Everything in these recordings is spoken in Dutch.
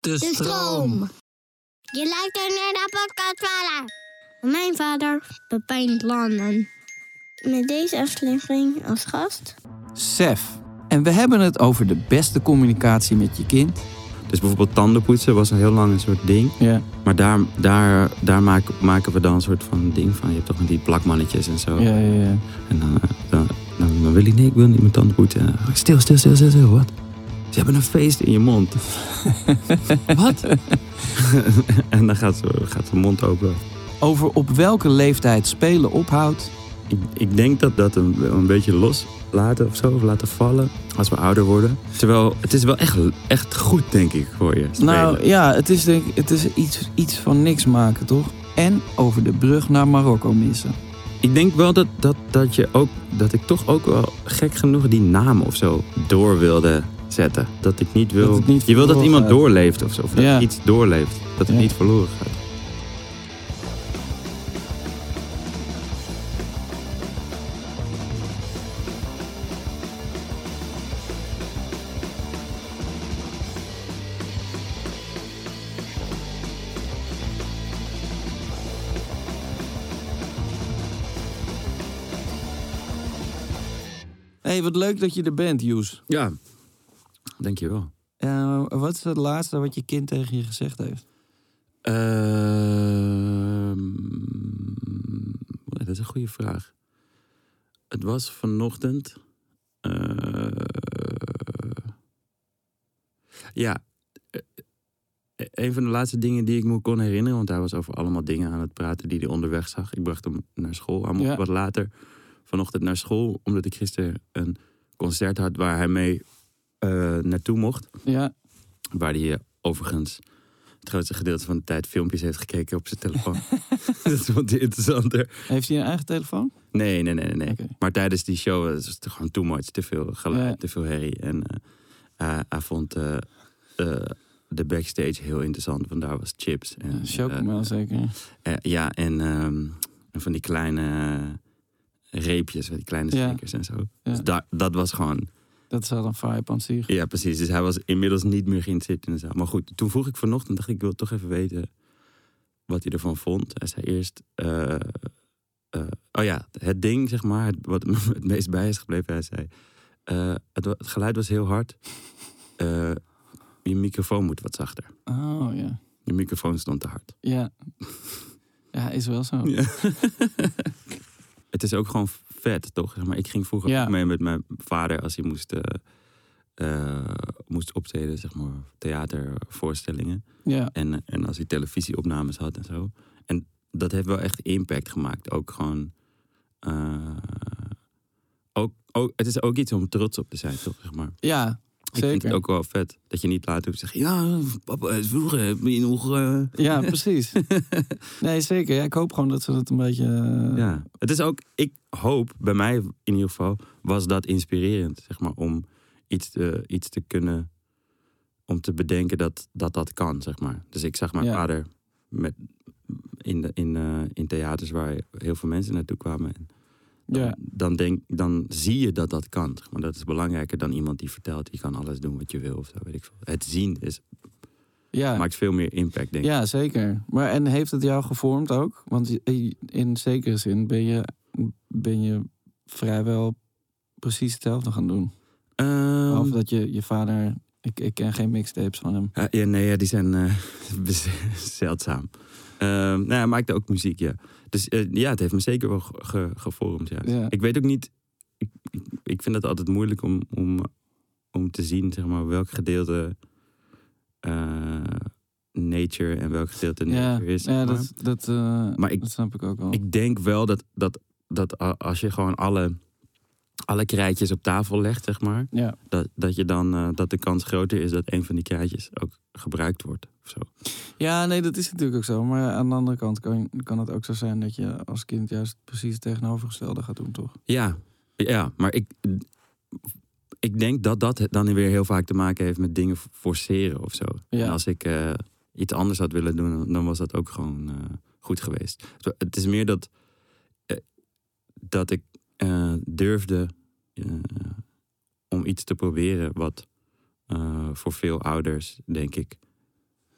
De stroom. Je luistert naar de podcast Wala. Mijn vader, Pepijn Landen. Met deze aflevering als gast. Sef. En we hebben het over de beste communicatie met je kind. Dus bijvoorbeeld tandenpoetsen was een heel lang een soort ding. Ja. Maar daar, daar, daar maken, maken we dan een soort van ding van. Je hebt toch met die plakmannetjes en zo. Ja, ja, ja. En dan, eh, dan, dan, dan wil hij, nee, ik wil niet mijn tanden poetsen. En dan, stil, stil, stil, stil, stil, wat? Ze hebben een feest in je mond. wat? en dan gaat ze, gaat ze mond open. Over op welke leeftijd spelen ophoudt. Ik, ik denk dat dat een, een beetje los laten of zo, of laten vallen als we ouder worden. Terwijl het is wel echt, echt goed, denk ik, voor je. spelen. Nou ja, het is, denk, ik- het is iets, iets van niks maken, toch? En over de brug naar Marokko missen. Ik denk wel dat, dat, dat, je ook, dat ik toch ook wel gek genoeg die naam of zo door wilde zetten. Dat ik niet wil. Dat het niet je wil dat verloren iemand gaat. doorleeft of zo. Of dat Ja. iets doorleeft. Dat het Ja. niet verloren gaat. Hé, hey, wat leuk dat je er bent, Joes. Ja, dankjewel. Eh, wat is het laatste wat je kind tegen je gezegd heeft? Ehm, dat is een goede vraag. Het was vanochtend. eh, ja. eh, Een van de laatste dingen die ik me kon herinneren, want hij was over allemaal dingen aan het praten die hij onderweg zag. Ik bracht hem naar school. Hij mocht Ja. wat later vanochtend naar school, omdat ik gisteren een concert had waar hij mee eh, naartoe mocht. Ja. Waar hij eh, overigens het grootste gedeelte van de tijd filmpjes heeft gekeken op zijn telefoon. dat vond hij interessanter. Heeft hij een eigen telefoon? Nee, nee, nee, nee. nee. Oké. Maar tijdens die show eh, was het gewoon too much. Te veel geluid, Ja. te veel herrie. En eh, hij, hij vond eh, eh, de backstage heel interessant. Want daar was chips. En, Ja, eh, Chocomel zeker. eh, ja, en, ehm, en van die kleine eh, reepjes. van Die kleine Ja. stickers en zo. Ja. Dus daar- dat was gewoon Dat is al een vibe aan zich. ja, precies. Dus hij was inmiddels niet meer geïnteresseerd in de zaal. Maar goed, toen vroeg ik vanochtend, dacht ik, ik wil toch even weten wat hij ervan vond. Hij zei eerst, eh, eh, oh ja, het ding, zeg maar, het- wat me het meest bij is gebleven. Hij zei, eh, het, wa- het geluid was heel hard. Eh, je microfoon moet wat zachter. Oh ja. Je microfoon stond te hard. Ja. Ja, is wel zo. Ja. Oh. het is ook gewoon vet, toch? Zeg Maar ik ging vroeger Ja. ook mee met mijn vader als hij moest, eh, eh, moest optreden, zeg maar, theatervoorstellingen. Ja. En, en als hij televisieopnames had en zo. En dat heeft wel echt impact gemaakt. Ook gewoon. eh, ook, ook, het is ook iets om trots op te zijn, toch? Zeg maar. Ja, Ik vind het zeker. ook wel vet dat je niet later hoeft te zeggen: Ja, papa, is vroeger heb je nog. eh." Ja, precies. Nee, zeker. Ja, ik hoop gewoon dat ze dat een beetje... eh, Ja. Het is ook, ik hoop, bij mij in ieder geval, was dat inspirerend. Zeg maar, om iets te, iets te kunnen. Om te bedenken dat dat, dat kan, zeg maar. Dus ik zag mijn Ja. vader met, in, de, in, eh, in theaters waar heel veel mensen naartoe kwamen. En dan, ja. dan, denk, dan zie je dat dat kan. Zeg maar dat is belangrijker dan iemand die vertelt: je kan alles doen wat je wil of zo, weet ik veel. Het zien is, ja. maakt veel meer impact, denk ik. Ja, zeker. Maar en heeft het jou gevormd ook? Want je- in zekere zin ben je, ben je vrijwel precies hetzelfde gaan doen. Ehm, Behalve dat je, je vader... Ik, ik ken geen mixtapes van hem. Ja, ja, nee, ja, die zijn eh, bez- zeldzaam. Ehm, nou, hij maakte ook muziek, ja. Dus eh, ja, het heeft me zeker wel ge- ge- gevormd, ja. Ja. Ik weet ook niet... Ik, ik, ik vind het altijd moeilijk om, om, om te zien, zeg maar, welk gedeelte eh, nature en welk gedeelte Ja, nature is. zeg ja maar. dat, dat, eh, Maar ik- dat snap ik ook wel. Ik denk wel dat, dat, dat a- als je gewoon alle, alle krijtjes op tafel legt, zeg maar... ja. Dat, dat, je dan, eh, dat de kans groter is dat een van die krijtjes ook gebruikt wordt, of zo. ja, nee, dat is natuurlijk ook zo. Maar aan de andere kant kan, kan het ook zo zijn dat je als kind juist precies het tegenovergestelde gaat doen, toch? Ja, ja maar ik, ik denk dat dat dan weer heel vaak te maken heeft met dingen forceren of zo. Ja. En als ik eh, iets anders had willen doen, dan was dat ook gewoon eh, goed geweest. Zo, Het is meer dat, eh, dat ik eh, durfde eh, om iets te proberen wat eh, voor veel ouders, denk ik,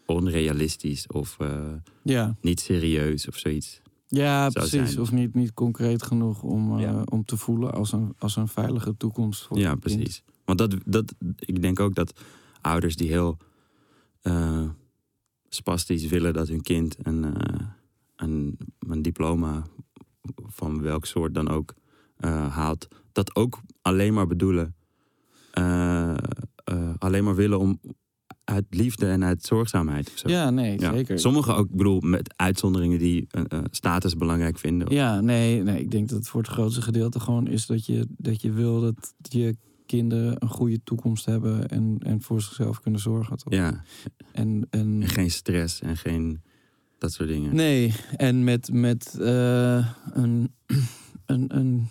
onrealistisch of eh, Ja, niet serieus of zoiets. ja Zou precies. zijn. Of niet, niet concreet genoeg om, eh, Ja. om te voelen als een, als een veilige toekomst voor Ja, een kind. precies. Want dat, dat, ik denk ook dat ouders die heel eh, spastisch willen dat hun kind een, eh, een, een diploma van welk soort dan ook eh, haalt, dat ook alleen maar bedoelen. eh, eh, alleen maar willen om uit liefde en uit zorgzaamheid of zo. Ja, nee, Ja. zeker. Sommigen ook, ik bedoel, met uitzonderingen die eh, eh, status belangrijk vinden. Ja, nee, nee, ik denk dat het voor het grootste gedeelte gewoon is dat je, dat je wil dat je kinderen een goede toekomst hebben en, en voor zichzelf kunnen zorgen. Toch? Ja, En, en en geen stress en geen dat soort dingen. Nee, en met, met eh, een, een, een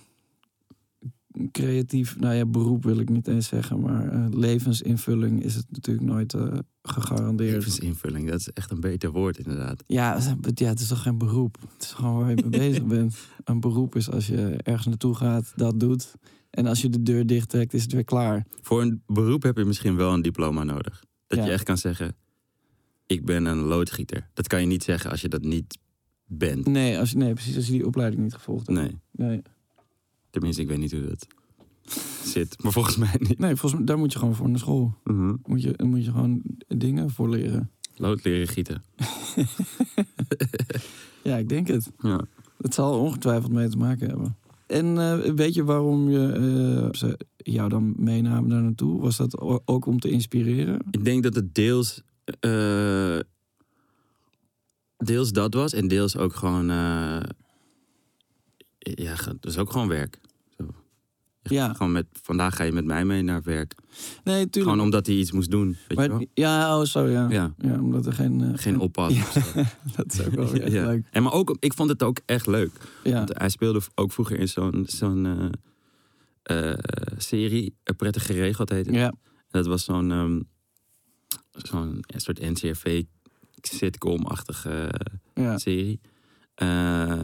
creatief, nou ja, beroep wil ik niet eens zeggen, maar eh, levensinvulling is het natuurlijk nooit eh, gegarandeerd. Levensinvulling, dat is echt een beter woord inderdaad. Ja, het- ja, het is toch geen beroep? Het is gewoon waar je mee bezig bent. Een beroep is als je ergens naartoe gaat, dat doet. En als je de deur dicht trekt, is het weer klaar. Voor een beroep heb je misschien wel een diploma nodig. Dat Ja. je echt kan zeggen, ik ben een loodgieter. Dat kan je niet zeggen als je dat niet bent. Nee, als je, nee precies, als je die opleiding niet gevolgd hebt. Nee, Nee, tenminste ik weet niet hoe dat zit. Maar volgens mij niet. nee volgens mij, daar moet je gewoon voor naar school. Mhm. Moet je, moet je gewoon dingen voor leren. Lood leren gieten. Ja, ik denk het. Ja. Het zal ongetwijfeld mee te maken hebben. En eh, weet je waarom je, eh, ze jou dan meenamen daar naartoe? Was dat o- ook om te inspireren? Ik denk dat het deels, eh, deels dat was en deels ook gewoon, eh, ja, ge- dat is ook gewoon werk. Zo. Je Ja. gaat Gewoon met, vandaag ga je met mij mee naar werk. Nee, tuurlijk. Gewoon omdat hij iets moest doen. Weet je maar, wel? ja, oh, zo ja. ja. Ja, omdat er geen... eh, geen oppas. Ja. of zo. dat is ook wel Ja, echt ja. leuk. En maar ook, ik vond het ook echt leuk. Ja. Want hij speelde ook vroeger in zo'n zo'n eh, eh, serie, eh, Prettig Geregeld heette het. ja, En Dat was zo'n ehm, zo'n soort NCRV-sitcom-achtige ja. serie. Eh,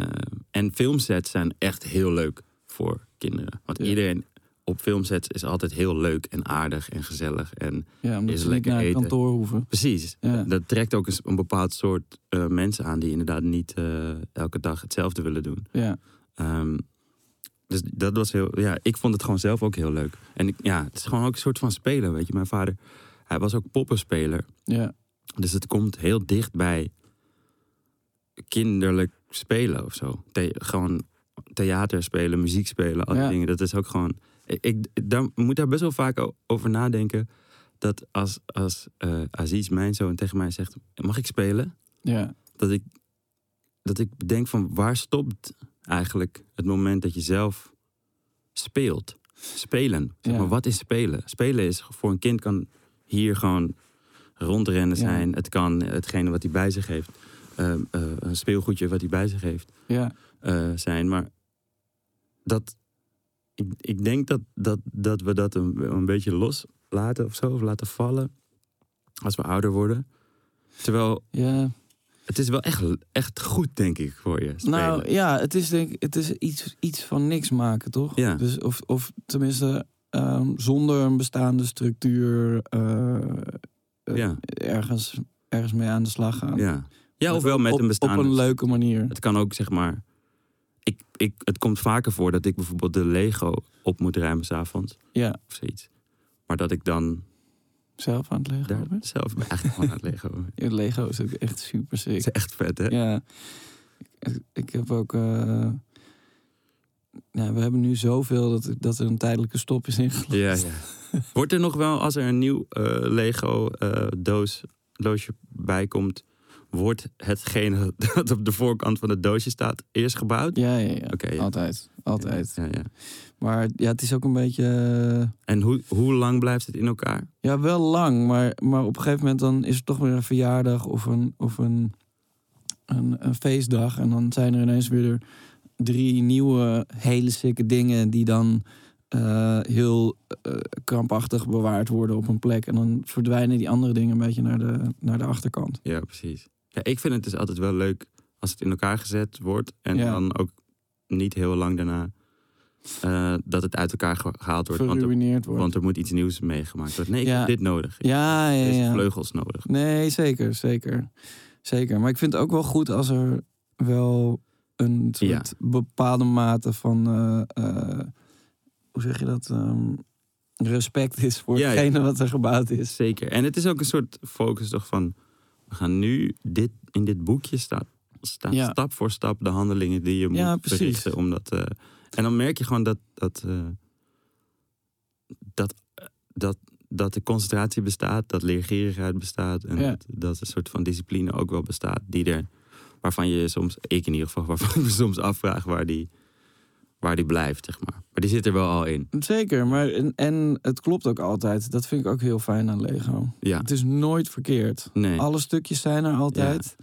en filmsets zijn echt heel leuk voor kinderen. Want Ja. iedereen op filmsets is altijd heel leuk en aardig en gezellig. En ja omdat Is ze niet lekker naar het eten. kantoor hoeven. Precies. Ja. Dat trekt ook een, s- een bepaald soort eh, mensen aan die inderdaad niet eh, elke dag hetzelfde willen doen. Ja, Ehm, dus dat was heel. Ja, ik vond het gewoon zelf ook heel leuk. En ik, ja, het is gewoon ook een soort van spelen. Weet je, mijn vader, hij was ook poppenspeler. ja, Dus het komt heel dicht bij kinderlijk spelen of zo. The- gewoon theater spelen, muziek spelen, al die Ja. dingen. Dat is ook gewoon. Ik, ik daar, moet daar best wel vaak o- over nadenken. Dat als, als eh, Aziz, mijn zoon, tegen mij zegt: Mag ik spelen? ja. Dat ik, dat ik bedenk van waar stopt eigenlijk het moment dat je zelf speelt? Spelen. Zeg Ja. maar, wat is spelen? Spelen is voor een kind kan hier gewoon rondrennen Ja. zijn. Het kan hetgene wat hij bij zich heeft, ehm, eh, een speelgoedje wat hij bij zich heeft ja. eh, zijn. Maar dat, ik, ik denk dat, dat, dat we dat een, een beetje loslaten of zo, of laten vallen als we ouder worden. Terwijl ja. het is wel echt, echt goed, denk ik, voor je. Spelen. Nou ja, het is denk ik, het is iets, iets van niks maken, toch? Ja. Dus of, of tenminste, ehm, zonder een bestaande structuur eh, eh, Ja. ergens, ergens mee aan de slag gaan. ja. ja, ofwel met op, een bestaande. Op een leuke manier. Het kan ook, zeg maar. Ik, ik, het komt vaker voor dat ik bijvoorbeeld de Lego op moet ruimen s'avonds Ja, of zoiets. Maar dat ik dan zelf aan het Lego. daar bent. zelf ben echt gewoon aan het Lego. ben. Ja, Lego is ook echt super sick. Het is echt vet, hè? Ja. Ik, ik heb ook. eh, nou, we hebben nu zoveel dat, dat er een tijdelijke stop is ingelegd. Ja, ja. Wordt er nog wel, als er een nieuw eh, Lego eh, doos, doosje bij komt, wordt hetgene dat op de voorkant van het doosje staat eerst gebouwd? Ja, ja, ja. Oké, ja. Altijd. Altijd. Ja, ja. Maar ja, het is ook een beetje. eh, En hoe, hoe lang blijft het in elkaar? ja, wel lang, maar, maar op een gegeven moment dan is het toch weer een verjaardag of een, of een, een, een feestdag. En dan zijn er ineens weer drie nieuwe, hele sikke dingen die dan eh, heel eh, krampachtig bewaard worden op een plek. En dan verdwijnen die andere dingen een beetje naar de, naar de achterkant. Ja, precies. Ja, ik vind het dus altijd wel leuk als het in elkaar gezet wordt en Ja. dan ook niet heel lang daarna eh, dat het uit elkaar ge- gehaald wordt. Want er, Verruineerd wordt. want er moet iets nieuws meegemaakt worden. Nee, ik Ja. heb dit nodig. Ik ja, ja, heb deze ja. vleugels nodig. Nee, zeker, zeker. Zeker. Maar ik vind het ook wel goed als er wel een soort Ja. bepaalde mate van. eh, eh, hoe zeg je dat? ehm, respect is voor Ja, ja. hetgene wat er gebouwd is. Zeker. En het is ook een soort focus toch van... We gaan nu dit, in dit boekje staan. Staat Ja. stap voor stap de handelingen die je moet Ja, precies. verrichten. Omdat, eh, en dan merk je gewoon dat, dat, eh, dat, dat, dat de concentratie bestaat, dat leergierigheid bestaat. En Ja. dat, dat een soort van discipline ook wel bestaat. Die er, waarvan je soms, ik in ieder geval, waarvan ik me soms afvraag waar die, waar die blijft. Zeg maar. maar die zit er wel al in. Zeker, maar en, en het klopt ook altijd. Dat vind ik ook heel fijn aan Lego. Ja, Het is nooit verkeerd. nee. Alle stukjes zijn er altijd.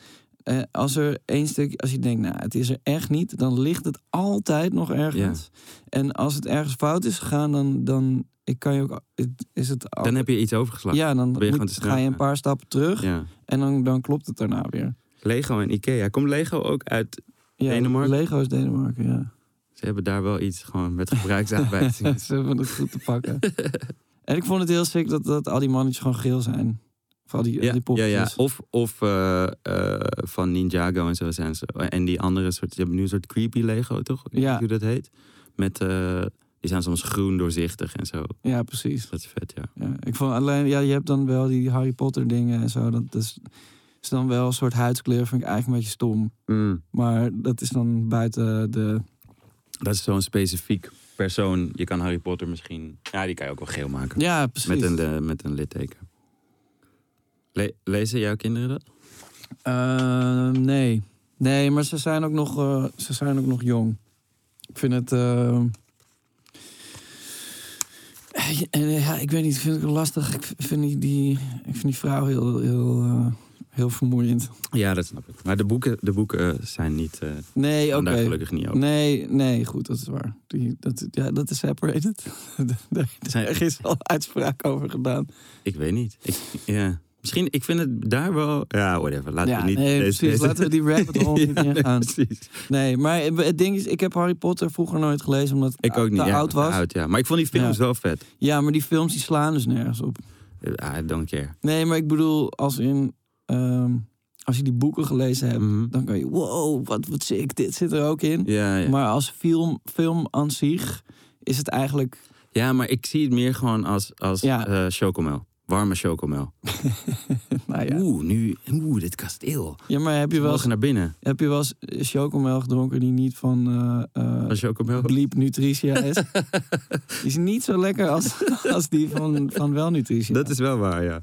Eh, als er één stuk, als je denkt, nou, het is er echt niet, dan ligt het altijd nog ergens. En als het ergens fout is gegaan, dan, dan ik kan je ook, het- is het al- Dan heb je iets overgeslagen. ja, dan ben je moet- gewoon te snel ga je een gegaan. paar stappen terug ja. en dan, dan klopt het daarna weer. Lego en Ikea. Komt Lego ook uit... Ja, Denemarken? Lego is Denemarken, ja. Ze hebben daar wel iets gewoon met gebruiksaanwijzingen. Ze hebben het goed te pakken. en ik vond het heel sick dat, dat al die mannetjes gewoon geel zijn. Of al die, al die ja, Oh. poppetjes. ja. Of, of eh, eh, van Ninjago en zo zijn ze. En die andere soort... Je hebt nu een soort creepy Lego, toch? Ik weet Ja. niet hoe dat heet. Met... eh, die zijn soms groen doorzichtig en zo. Ja, precies. Dat is vet, ja. Ja, ik vond alleen, ja, je hebt dan wel die Harry Potter dingen en zo. Dat is, is dan wel een soort huidskleur, vind ik eigenlijk een beetje stom. Maar dat is dan buiten de... Dat is zo'n specifiek persoon. Je kan Harry Potter misschien... Ja, die kan je ook wel geel maken. Ja, precies. Met een, eh, met een litteken. Le- lezen jouw kinderen dat? Eh, nee. Nee, maar ze zijn ook nog, eh, ze zijn ook nog jong. Ik vind het... eh, en, eh, ja, ik weet niet, vind ik het lastig. Ik vind die, die, ik vind die vrouw heel, heel, eh, heel vermoeiend. Ja, dat snap ik. Maar de boeken, de boeken eh, zijn niet... eh Nee, oké. gaan daar gelukkig niet over. Nee, nee, goed, dat is waar. Die, dat, ja, dat is separated. Daar Zijn- daar is al uitspraak over gedaan. Ik weet niet. Ik, ja. Misschien, ik vind het daar wel... Ja, whatever. Laten ja, we niet... nee, deze- precies. deze- Laten we die rabbit hole Ja, niet nee, ingaan. precies. Nee, maar het ding is, ik heb Harry Potter vroeger nooit gelezen omdat Ik ook niet. te ja, oud was. Oud, ja. Maar ik vond die films Ja. wel vet. Eh, ah, Ja, maar die films die slaan dus nergens op. I don't care. Nee, maar ik bedoel, als in ehm, als je die boeken gelezen hebt, Mhm. dan kan je, wow, wat, wat sick, dit zit er ook in. Ja, ja. Maar, Maar als film, film aan zich is het eigenlijk ja, maar ik zie het meer gewoon als, als Ja. eh, chocomel. Warme chocomel. nou ja. Oeh, nu... Oeh, dit kasteel. Ja, maar heb je We wel eens mogen naar binnen. Heb je wel eens chocomel gedronken die niet van eh eh, Als chocomel. Bliep Nutritia is? die is niet zo lekker als, als die van, van Wel Nutritia. Dat is wel waar, ja.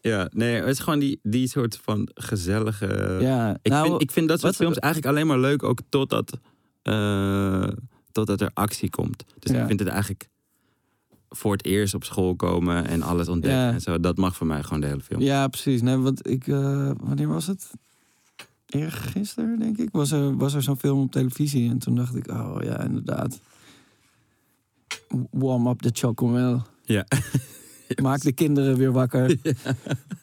Ja, nee, het is gewoon die, die soort van gezellige... ja, Ik, nou, vind, ik vind dat soort wat- films eigenlijk alleen maar leuk, ook totdat, eh, totdat er actie komt. Dus Ja. ik vind het eigenlijk voor het eerst op school komen en alles ontdekken Ja. en zo. Dat mag voor mij gewoon de hele film. ja, precies. Nee, want ik, eh, wanneer was het? Eergisteren, denk ik, was er, was er zo'n film op televisie. En toen dacht ik, oh ja, inderdaad. Warm up de chocomel. Ja. Maak de kinderen weer wakker.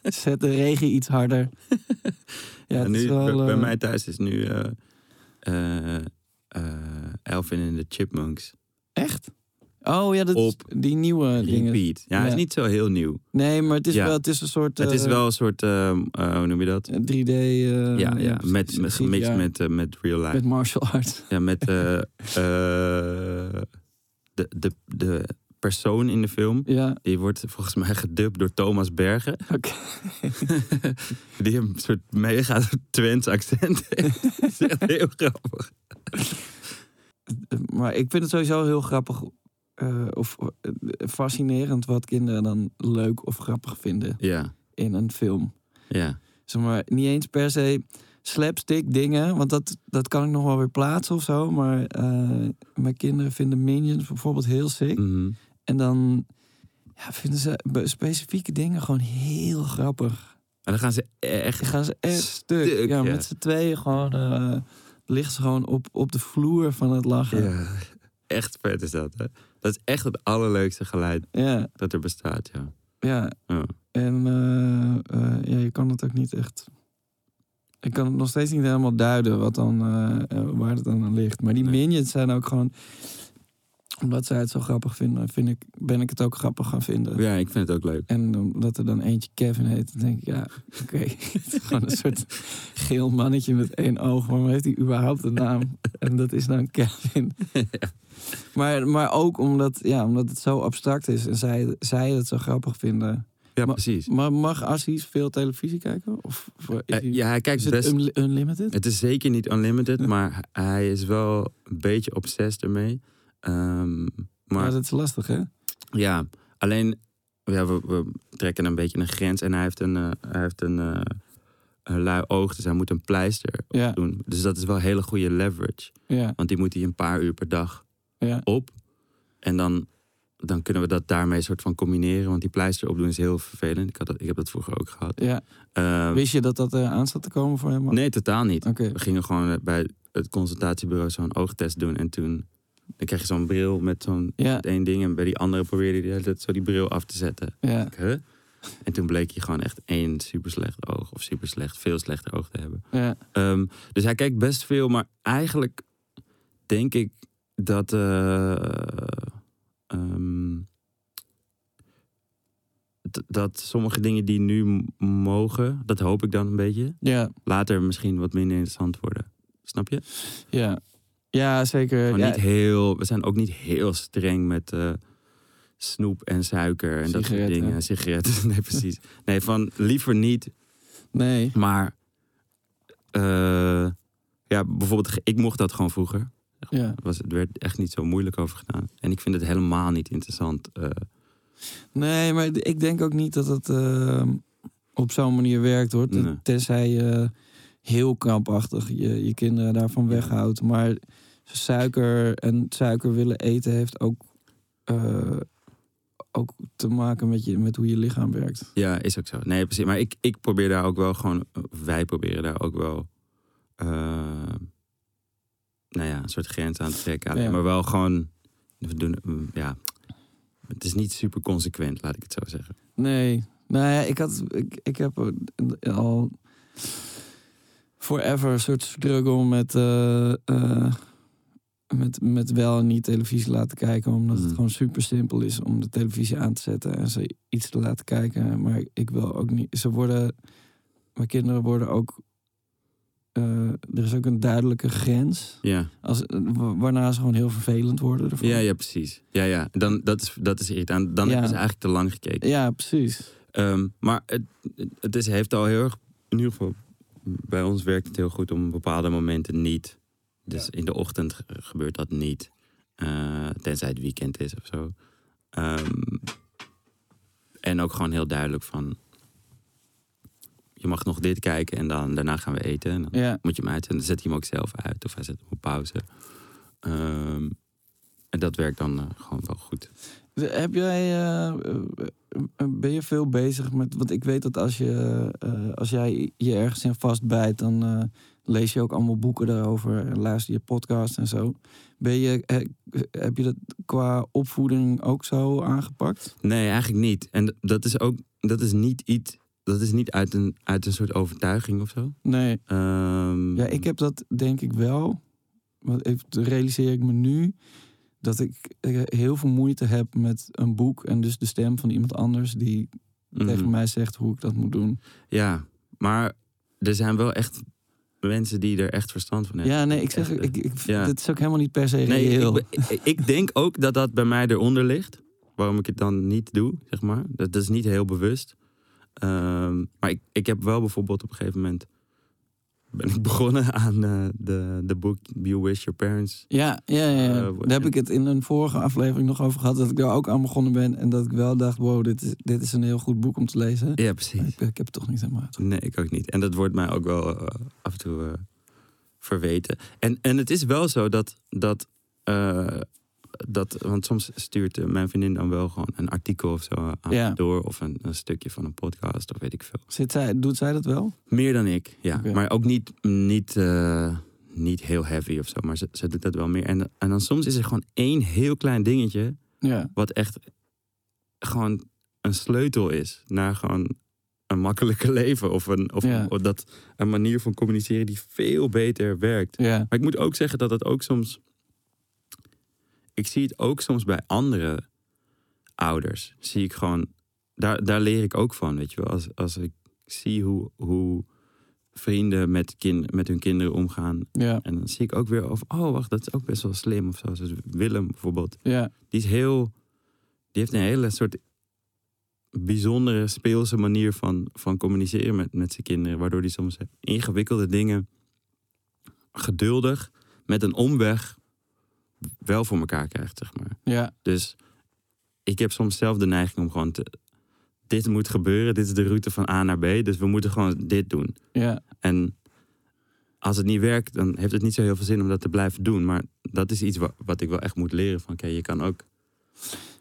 Zet de regen iets harder. Ja, en het is nu, wel, bij, bij eh, mij thuis is nu eh eh, eh, Elvin en de Chipmunks. Echt? Oh ja, dat is Op die nieuwe dingen. Repeat. Ja, het is Ja. niet zo heel nieuw. Nee, maar het is Ja. wel het is een soort het is eh, wel een soort, eh, eh, hoe noem je dat? 3D eh, ja, ja, precies, met, met, precies, gemixt ja. met, eh, met real life. Met martial arts. Ja, met eh, eh, de, de, de persoon in de film. Ja, Die wordt volgens mij gedubt door Thomas Bergen. oké. Die een soort mega Twents accent heeft. Dat is echt heel grappig. Maar ik vind het sowieso heel grappig eh, of eh, fascinerend wat kinderen dan leuk of grappig vinden Ja, in een film. ja. Zeg maar, niet eens per se slapstick dingen, want dat, dat kan ik nog wel weer plaatsen of zo. Maar eh, mijn kinderen vinden Minions bijvoorbeeld heel sick. Mhm. En dan ja, vinden ze be- specifieke dingen gewoon heel grappig. En dan gaan ze Dan echt... gaan ze echt stuk. Stuk, ja, ja. met z'n tweeën gewoon... eh ligt ze gewoon op, op de vloer van het lachen. Ja. Ja, echt vet is dat, hè? Dat is echt het allerleukste geluid Ja, dat er bestaat, ja. Ja. En eh, eh, ja, je kan het ook niet echt... Ik kan het nog steeds niet helemaal duiden wat dan, eh, eh, waar het dan aan ligt. Maar die Nee. minions zijn ook gewoon... Omdat zij het zo grappig vinden, vind ik, ben ik het ook grappig gaan vinden. Ja, ik vind het ook leuk. En omdat er dan eentje Kevin heet, dan denk ik, ja, oké. het is gewoon een soort geel mannetje met één oog. Waarom heeft hij überhaupt een naam? En dat is dan Kevin. Maar, maar ook omdat, ja, omdat het zo abstract is en zij, zij het zo grappig vinden. Ja, Maar- precies. Maar mag Assis veel televisie kijken? Of, of is Eh, hij- ja, hij is kijkt het best... un- unlimited? Het is zeker niet unlimited, maar hij is wel een beetje obsessed ermee. Ehm, Maar maar dat is lastig, hè? ja, alleen ja, we, we trekken een beetje een grens en hij heeft een, eh, hij heeft een, eh, een lui oog, dus hij moet een pleister Ja, doen. Dus dat is wel hele goede leverage, ja, want die moet hij een paar uur per dag ja. op. En dan, dan kunnen we dat daarmee soort van combineren, want die pleister opdoen is heel vervelend. Ik, had dat, ik heb dat vroeger ook gehad. ja. Eh, Wist je dat dat eh, aan zat te komen voor hem? nee, totaal niet. Oké. We gingen gewoon bij het consultatiebureau zo'n oogtest doen. En toen dan kreeg je zo'n bril met zo'n Ja, met één ding. En bij die andere probeerde hij de hele tijd zo die bril af te zetten. ja, Ik, huh? En toen bleek hij gewoon echt één super slecht oog. Of super slecht, veel slechter oog te hebben. ja. Ehm, dus hij kijkt best veel. Maar eigenlijk denk ik dat... eh, ehm, d- dat sommige dingen die nu m- mogen, dat hoop ik dan een beetje. Ja, Later misschien wat minder interessant worden. Snap je? ja. Ja, zeker. Maar Ja, niet heel, we zijn ook niet heel streng met eh, snoep en suiker en dat soort Sigaretten. dingen. Sigaretten, nee precies. Nee, van liever niet, nee. maar eh, ja, bijvoorbeeld, ge- ik mocht dat gewoon vroeger. Ja. Was, het werd echt niet zo moeilijk over gedaan. En ik vind het helemaal niet interessant. eh. Nee, maar ik denk ook niet dat het eh, op zo'n manier werkt hoor. Ten- Nee. Tenzij je heel krampachtig je, je kinderen daarvan weghoudt. Maar suiker en suiker willen eten heeft ook, eh, ook te maken met, je, met hoe je lichaam werkt. ja, is ook zo. Nee, precies. Maar ik, ik probeer daar ook wel gewoon, wij proberen daar ook wel, eh, nou ja, een soort grens aan te trekken. Alleen Ja. Maar wel gewoon, we doen, mm, ja, het is niet super consequent, laat ik het zo zeggen. Nee. Nou ja, ik, had, ik, ik heb eh, al forever een soort struggle met, eh, eh, met, met wel en niet televisie laten kijken. Omdat het Mhm. gewoon super simpel is om de televisie aan te zetten en ze iets te laten kijken. Maar ik wil ook niet. Ze worden. Mijn kinderen worden ook. eh, er is ook een duidelijke grens. Ja, Als, eh, wa- waarna ze gewoon heel vervelend worden. ervan. ja, ja precies. Ja, ja. Dan, dat, is, dat is irritant. Dan Ja. hebben ze eigenlijk te lang gekeken. ja, precies. Ehm, maar het, het is, heeft al heel erg, in ieder geval bij ons werkt het heel goed om bepaalde momenten niet. Dus in de ochtend ge- gebeurt dat niet. Eh, tenzij het weekend is of zo. Ehm, en ook gewoon heel duidelijk van, je mag nog dit kijken en dan daarna gaan we eten. En dan Ja, moet je hem uitzetten. Dan zet hij hem ook zelf uit of hij zet hem op pauze. Ehm, en dat werkt dan eh, gewoon wel goed. Heb jij, eh, eh, eh, ben je veel bezig met, want ik weet dat als, je, eh, als jij je ergens in vastbijt, dan eh, lees je ook allemaal boeken daarover en luister je podcasts en zo. Ben je, eh, heb je dat qua opvoeding ook zo aangepakt? Nee, eigenlijk niet. En d- dat is ook, dat is niet iets, dat is niet uit een, uit een soort overtuiging of zo. Nee, Ehm, ja, ik heb dat denk ik wel, want ik realiseer ik me nu dat ik eh, heel veel moeite heb met een boek en dus de stem van iemand anders die mhm. tegen mij zegt hoe ik dat moet doen. Ja, maar er zijn wel echt mensen die er echt verstand van hebben. Ja, nee, ik zeg, Echt, eh, ik, ik, ja. dit is ook helemaal niet per se nee, ik, reëel. ben- ik- ik denk ook dat dat bij mij eronder ligt. Waarom ik het dan niet doe, zeg maar. Dat, dat is niet heel bewust. Ehm, maar ik, ik heb wel bijvoorbeeld op een gegeven moment... ben ik begonnen aan eh, de, de boek You Wish Your Parents Ja, ja, ja, ja. Eh, daar heb ik het in een vorige aflevering nog over gehad, dat ik daar ook aan begonnen ben en dat ik wel dacht, wow, dit is, dit is een heel goed boek om te lezen. Ja, Maar precies. Ik, ik heb het toch niet helemaal uitgevoerd. Nee, ik ook niet. En dat wordt mij ook wel eh, af en toe eh, verweten. En, en het is wel zo dat, dat, eh, dat. Want soms stuurt eh, mijn vriendin dan wel gewoon een artikel of zo aan Ja. me door. Of een, een stukje van een podcast of weet ik veel. Zit zij, doet zij dat wel? Meer dan ik, ja. Oké. Maar ook niet, niet, eh, niet heel heavy of zo. Maar ze, ze doet dat wel meer. En, en dan soms is er gewoon één heel klein dingetje. Ja. Wat echt gewoon een sleutel is naar gewoon een makkelijker leven. Of, een, of, Ja. of dat een manier van communiceren die veel beter werkt. Ja, Maar ik moet ook zeggen dat het ook soms. ik zie het ook soms bij andere ouders. Zie ik gewoon, daar, daar leer ik ook van, weet je wel. Als, als ik zie hoe, hoe vrienden met, kind, met hun kinderen omgaan. Ja, En dan zie ik ook weer over, oh wacht, dat is ook best wel slim of zo. Zoals Willem bijvoorbeeld. ja, Die is heel, die heeft een hele soort bijzondere speelse manier van, van communiceren met, met zijn kinderen. Waardoor die soms ingewikkelde dingen geduldig met een omweg wel voor elkaar krijgt, zeg maar. ja, Dus ik heb soms zelf de neiging om gewoon te... Dit moet gebeuren, dit is de route van A naar B, dus we moeten gewoon dit doen. ja, En als het niet werkt, dan heeft het niet zo heel veel zin om dat te blijven doen. Maar dat is iets wa- wat, ik wel echt moet leren. Van oké, je kan ook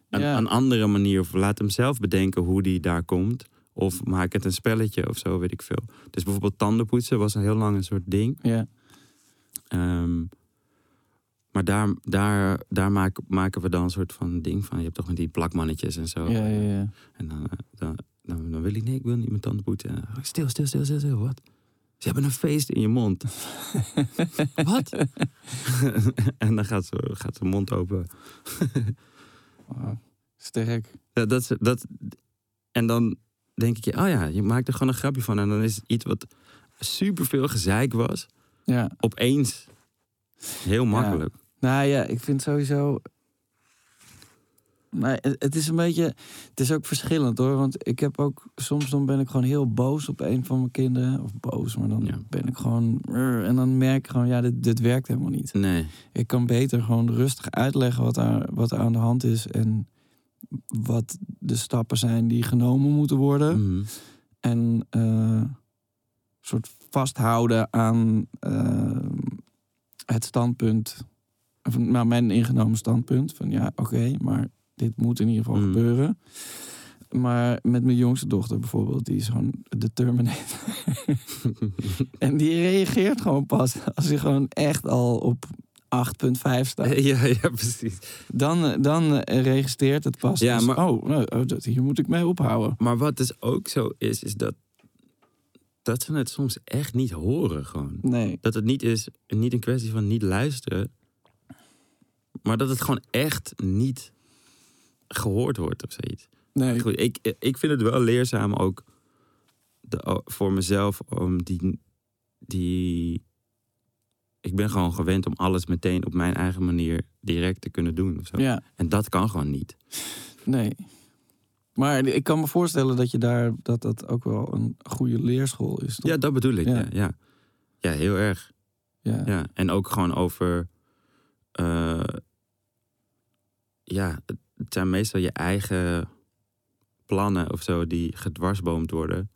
een, Ja. een andere manier, of laat hem zelf bedenken hoe die daar komt. Of maak het een spelletje of zo, weet ik veel. Dus bijvoorbeeld tandenpoetsen was een heel lang een soort ding. ja, Ehm, maar daar, daar, daar maak- maken we dan een soort van ding van. Je hebt toch met die plakmannetjes en zo. ja, ja, ja. En dan, eh, dan, dan, dan wil ik, nee, ik wil niet mijn tanden poetsen. En dan, "Oh, Stil, stil, stil, stil, stil, wat? Ze hebben een feest in je mond. wat? en dan gaat ze, gaat ze mond open. Wauw, sterk. Ja, dat, is- dat, en dan denk ik, oh ja, je maakt er gewoon een grapje van. En dan is het iets wat superveel gezeik was, Ja. opeens heel makkelijk. Nou ja, ik vind sowieso. Maar het het is een beetje. Het is ook verschillend hoor. Want ik heb ook. Soms dan ben ik gewoon heel boos op een van mijn kinderen. Of boos, maar dan Ja. ben ik gewoon. "Urgh." En dan merk ik gewoon. Ja, dit, dit werkt helemaal niet. Nee, Ik kan beter gewoon rustig uitleggen wat er, wat er aan de hand is. En wat de stappen zijn die genomen moeten worden. Mhm. En eh, soort vasthouden aan eh, het standpunt. Of, nou, mijn ingenomen standpunt. Van ja, oké, maar dit moet in ieder geval Mm. gebeuren. Maar met mijn jongste dochter bijvoorbeeld, die is gewoon determinator. en die reageert gewoon pas als hij gewoon echt al op 8,5 staat. ja, ja, precies. Dan, eh, dan eh, registreert het pas. Ja, als, maar- Oh, nou, oh, dat, hier moet ik mee ophouden. Maar wat dus ook zo is, is dat, dat ze het soms echt niet horen gewoon. Nee, Dat het niet is, niet een kwestie van niet luisteren. Maar dat het gewoon echt niet gehoord wordt of zoiets. nee. Goed, ik, ik vind het wel leerzaam ook de, voor mezelf om die, die... Ik ben gewoon gewend om alles meteen op mijn eigen manier direct te kunnen doen. Of zo. Ja. En dat kan gewoon niet. Nee. Maar ik kan me voorstellen dat je daar dat dat ook wel een goede leerschool is. Toch? Ja, dat bedoel ik. Ja. Ja, ja. ja heel erg. ja. Ja, en ook gewoon over. eh, ja, het zijn meestal je eigen plannen of zo die gedwarsboomd worden.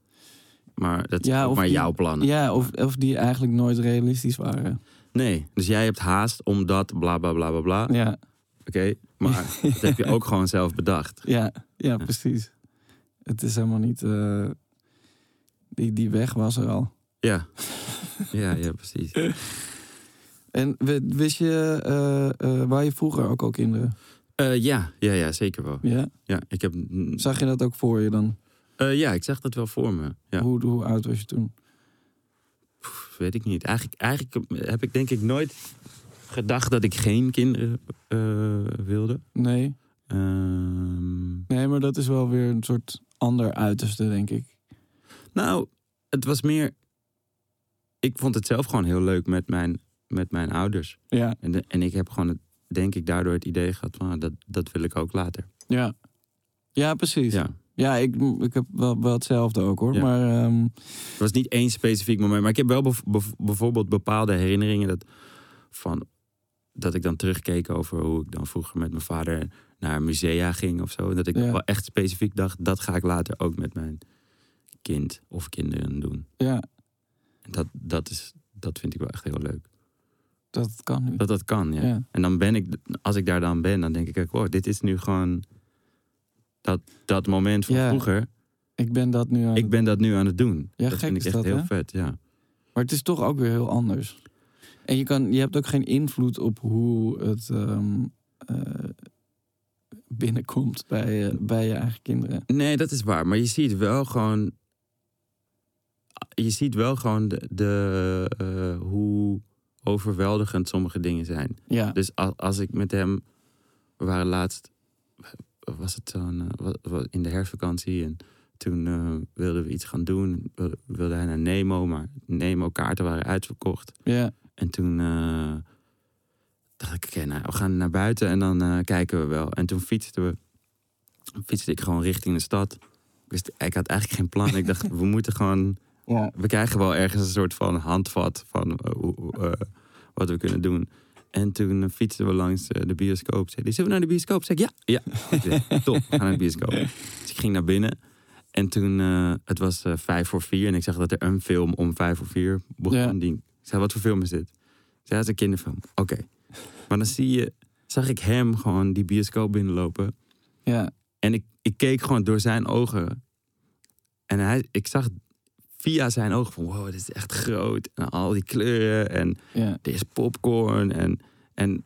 Maar dat zijn Ja, ook of maar die- jouw plannen. Ja, of, of die eigenlijk nooit realistisch waren. Nee, dus jij hebt haast omdat bla bla bla bla bla. Oké, Ja, maar dat heb je ook gewoon zelf bedacht. ja, ja, precies. Het is helemaal niet. eh, die, die weg was er al. Ja, ja, ja precies. En we- wist je, eh eh waar je vroeger ook al kinderen? Eh, ja, ja, ja, zeker wel. Ja? Ja, ik heb, Zag je dat ook voor je dan? Eh, ja, ik zag dat wel voor me. Ja. Hoe, hoe oud was je toen? Pff, weet ik niet. Eigenlijk, eigenlijk heb ik denk ik nooit gedacht dat ik geen kinderen eh, wilde. Nee. Ehm, Nee, maar dat is wel weer een soort ander uiterste, denk ik. nou, het was meer. Ik vond het zelf gewoon heel leuk met mijn, met mijn ouders. Ja, En, de- en ik heb gewoon, het, denk ik, daardoor het idee gehad van ah, dat, dat wil ik ook later. ja. Ja, precies. Ja. Ja, ik, ik heb wel, wel hetzelfde ook hoor. Ja. Maar ehm, Het was niet één specifiek moment, maar ik heb wel bev- bev- bijvoorbeeld bepaalde herinneringen dat, van, dat ik dan terugkeek over hoe ik dan vroeger met mijn vader naar musea ging of zo. En Dat ik Ja. wel echt specifiek dacht, dat ga ik later ook met mijn kind of kinderen doen. ja, En dat, dat, is, dat vind ik wel echt heel leuk. dat kan nu. Dat dat kan, ja. Ja. En dan ben ik, als ik daar dan ben, dan denk ik, ook, wow, dit is nu gewoon dat, dat moment van Ja. vroeger. Ik ben dat nu aan. Ik het- ben dat nu aan het doen. Ja, gek dat vind ik is echt dat, heel hè? vet, ja. Maar het is toch ook weer heel anders. En je, kan, je hebt ook geen invloed op hoe het ehm, eh, binnenkomt bij, je- bij je eigen kinderen. Nee, dat is waar. Maar je ziet wel gewoon. Je ziet wel gewoon de, de, eh, hoe overweldigend sommige dingen zijn. Ja, Dus als, als ik met hem we waren laatst, was het zo'n, eh, wa- wa- in de herfstvakantie. En toen eh, wilden we iets gaan doen. We wilden hij naar Nemo, maar Nemo kaarten waren uitverkocht. Ja. En toen eh, dacht ik, oké, nou, we gaan naar buiten en dan eh, kijken we wel. En toen fietsten we, fietste ik gewoon richting de stad. Ik, wist, ik had eigenlijk geen plan. Ik dacht, we moeten gewoon Ja. we krijgen wel ergens een soort van handvat van eh, hoe- hoe, eh, wat we kunnen doen. En toen eh, fietsten we langs eh, de bioscoop. Zei die, zullen we naar de bioscoop? Zeg ik, ja. Ja, goed, idee. top, we gaan naar de bioscoop. Dus ik ging naar binnen. En toen, eh, het was eh, vijf voor vier. En ik zag dat er een film om vijf voor vier begon. Ja. Die, ik zei, wat voor film is dit? Ze zei, "Ja, het is een kinderfilm. Oké. Maar dan zie je, zag ik hem gewoon die bioscoop binnenlopen. Ja. En ik, ik keek gewoon door zijn ogen. En hij, ik zag via zijn ogen van wow, dit is echt groot. En al die kleuren en Ja. er is popcorn. En, en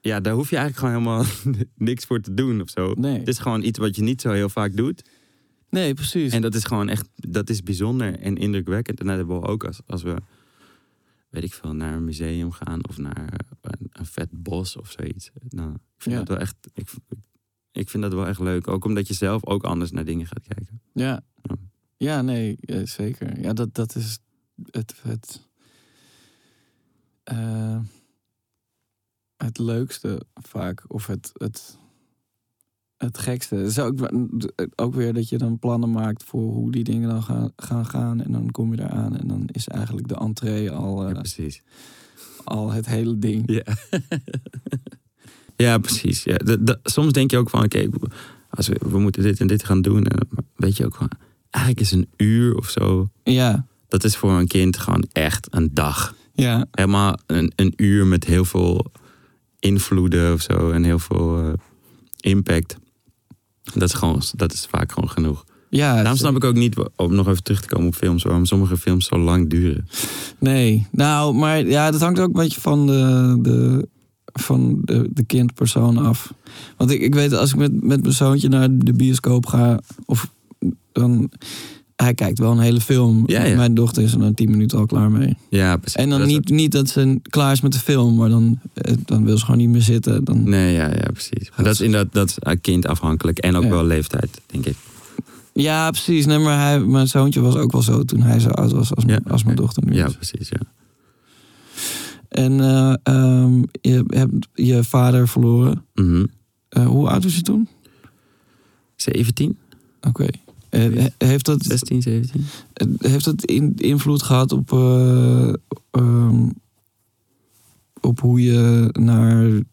ja, daar hoef je eigenlijk gewoon helemaal niks voor te doen of zo. Nee. Het is gewoon iets wat je niet zo heel vaak doet. Nee, precies. En dat is gewoon echt, dat is bijzonder en indrukwekkend. En dat hebben we ook als, als we, weet ik veel, naar een museum gaan of naar een, een vet bos of zoiets. Nou, ik vind Ja. dat wel echt, ik, ik vind dat wel echt leuk. Ook omdat je zelf ook anders naar dingen gaat kijken. Ja. Ja. Ja, nee, eh, zeker. Ja, dat, dat is het, het, eh, het leukste vaak. Of het, het, het gekste. Het is ook, ook weer dat je dan plannen maakt voor hoe die dingen dan gaan gaan. gaan en dan kom je eraan en dan is eigenlijk de entree al, eh, Ja, precies. al het hele ding. Ja, ja precies. Ja. Dat- dat- soms denk je ook van, oké, als we, we moeten dit en dit gaan doen. En, maar weet je ook gewoon, eigenlijk is een uur of zo, Ja, dat is voor een kind gewoon echt een dag. ja, helemaal een, een uur met heel veel invloeden of zo en heel veel eh, impact. Dat is, gewoon, dat is vaak gewoon genoeg. ja. dus Daarom snap ik ook niet, wa- om nog even terug te komen op films, waarom sommige films zo lang duren. Nee, nou, maar ja, dat hangt ook een beetje van de, de, van de, de kindpersoon af. Want ik, ik weet, als ik met, met mijn zoontje naar de bioscoop ga, of dan. Hij kijkt wel een hele film. Ja, ja. Mijn dochter is er na tien minuten al klaar mee. Ja, precies. En dan Dat is niet, niet dat ze klaar is met de film, maar dan, eh, dan wil ze gewoon niet meer zitten. Dan, ook- Nee, ja, ja, precies. Maar dat is inderdaad dat is aan kind afhankelijk en ook Ja. wel leeftijd, denk ik. Ja, precies. Nee, maar hij, mijn zoontje was ook wel zo toen hij zo oud was als, Ja, mijn- als mijn oké. dochter nu Ja, is. precies. Ja. En eh, ehm, je hebt je vader verloren. Mhm. Eh, hoe oud was je toen? 17, Oké. Eh, he- heeft, dat, 16, 17? eh, heeft dat in, invloed gehad op, eh, ehm, op hoe je naar een